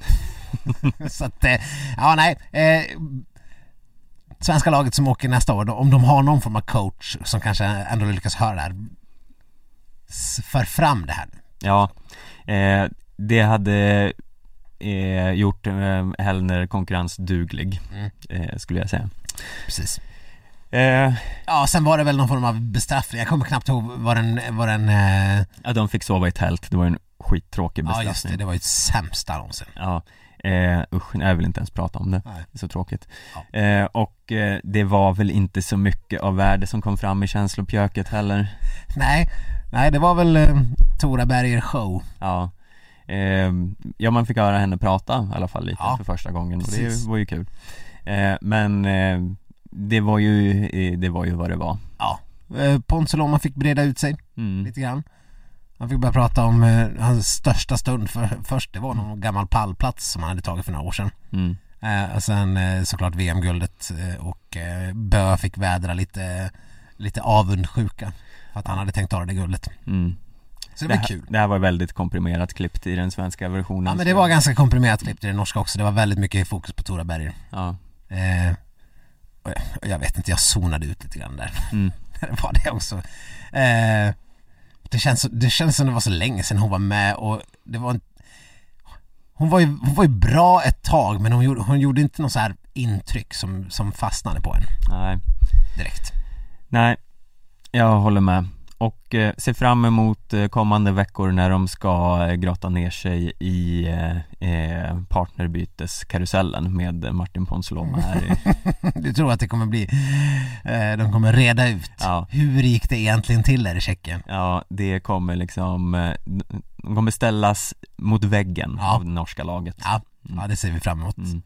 [SPEAKER 1] här. Så att, eh, ja nej. Eh, svenska laget som åker nästa år, då, om de har någon form av coach som kanske ändå lyckas höra det här. s- För fram det här nu.
[SPEAKER 2] ja eh, Det hade eh, gjort eh, Hellner konkurrensduglig
[SPEAKER 1] Mm.
[SPEAKER 2] eh, skulle jag säga
[SPEAKER 1] Precis.
[SPEAKER 2] eh,
[SPEAKER 1] Ja, sen var det väl någon form av bestraffning. Jag kommer knappt ihåg vad den, vad den, eh,
[SPEAKER 2] Ja, de fick sova i tält, det var ju en skittråkig
[SPEAKER 1] ja
[SPEAKER 2] bestraffning
[SPEAKER 1] just det, det var ju sämsta någonsin.
[SPEAKER 2] Ja, eh, usch, nej, jag vill inte ens prata om det,
[SPEAKER 1] Nej.
[SPEAKER 2] det är så tråkigt
[SPEAKER 1] Ja.
[SPEAKER 2] eh, Och eh, det var väl inte så mycket av värde som kom fram i känslopjöket heller
[SPEAKER 1] Nej, nej det var väl eh, Tora Berger show.
[SPEAKER 2] Ja eh, Ja, man fick höra henne prata i alla fall lite
[SPEAKER 1] Ja,
[SPEAKER 2] för första gången och
[SPEAKER 1] precis.
[SPEAKER 2] det var ju kul eh, Men eh, det var ju, eh, det var ju vad det var
[SPEAKER 1] Ja. Eh, Pontus Lomma fick breda ut sig
[SPEAKER 2] mm.
[SPEAKER 1] lite grann. Han fick börja prata om eh, hans största stund för, först, det var någon gammal pallplats som han hade tagit för några år sedan.
[SPEAKER 2] Mm.
[SPEAKER 1] Eh, och sen eh, såklart VM-guldet eh, och eh, Bö fick vädra lite, lite avundsjuka för att han hade tänkt ta det guldet.
[SPEAKER 2] Mm.
[SPEAKER 1] Så det,
[SPEAKER 2] Det,
[SPEAKER 1] var
[SPEAKER 2] här,
[SPEAKER 1] kul.
[SPEAKER 2] det här var väldigt komprimerat klippt i den svenska versionen
[SPEAKER 1] Ja men det
[SPEAKER 2] så-
[SPEAKER 1] var ganska komprimerat klippt i det norska också, det var väldigt mycket fokus på Tora Berger.
[SPEAKER 2] ja.
[SPEAKER 1] Eh, och jag- och jag vet inte, jag zonade ut lite grann där.
[SPEAKER 2] Mm.
[SPEAKER 1] det var det också. Eh, det, känns, det känns som det var så länge sedan hon var med och det var en, hon, var ju, hon var ju bra ett tag men hon gjorde, hon gjorde inte något så här intryck som, som fastnade på en
[SPEAKER 2] Nej
[SPEAKER 1] direkt.
[SPEAKER 2] Nej, jag håller med. och eh, ser fram emot eh, kommande veckor när de ska eh, grotta ner sig i eh, eh, partnerbyteskarusellen med Martin Ponsiloma här i,
[SPEAKER 1] Du tror att det kommer bli, eh, de kommer reda ut
[SPEAKER 2] ja,
[SPEAKER 1] hur gick det egentligen till där i Tjeckien?
[SPEAKER 2] ja, det kommer liksom, eh, de kommer ställas mot väggen
[SPEAKER 1] Ja.
[SPEAKER 2] av det norska laget
[SPEAKER 1] Ja,
[SPEAKER 2] Mm.
[SPEAKER 1] ja det ser vi fram emot.
[SPEAKER 2] Mm.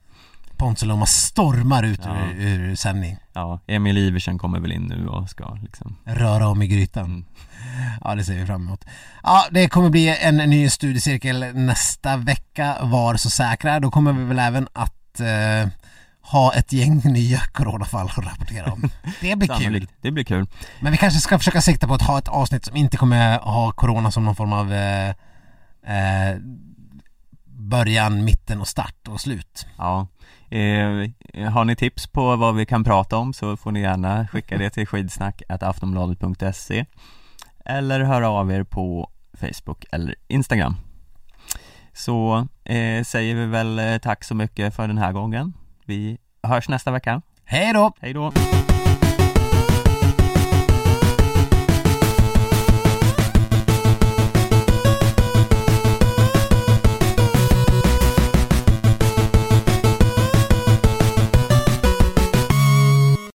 [SPEAKER 1] Ponsiloma stormar ut
[SPEAKER 2] Ja.
[SPEAKER 1] ur, ur sändning,
[SPEAKER 2] Ja, Emil Iversen kommer väl in nu och ska liksom
[SPEAKER 1] röra om i grytan.
[SPEAKER 2] Mm.
[SPEAKER 1] Ja, det ser vi fram emot. Ja, det kommer bli en ny studiecirkel nästa vecka, var så säkra. Då kommer vi väl även att eh, ha ett gäng nya coronafall att rapportera om. Det blir kul.
[SPEAKER 2] Sannolikt, det blir kul
[SPEAKER 1] Men vi kanske ska försöka sikta på att ha ett avsnitt som inte kommer ha corona som någon form av eh, eh, början, mitten och start och slut.
[SPEAKER 2] Ja, eh, har ni tips på vad vi kan prata om så får ni gärna skicka det till skidsnack.aftonbladet.se eller höra av er på Facebook eller Instagram. Så eh, säger vi väl eh, tack så mycket för den här gången. Vi hörs nästa vecka.
[SPEAKER 1] Hej då!
[SPEAKER 2] Hej då!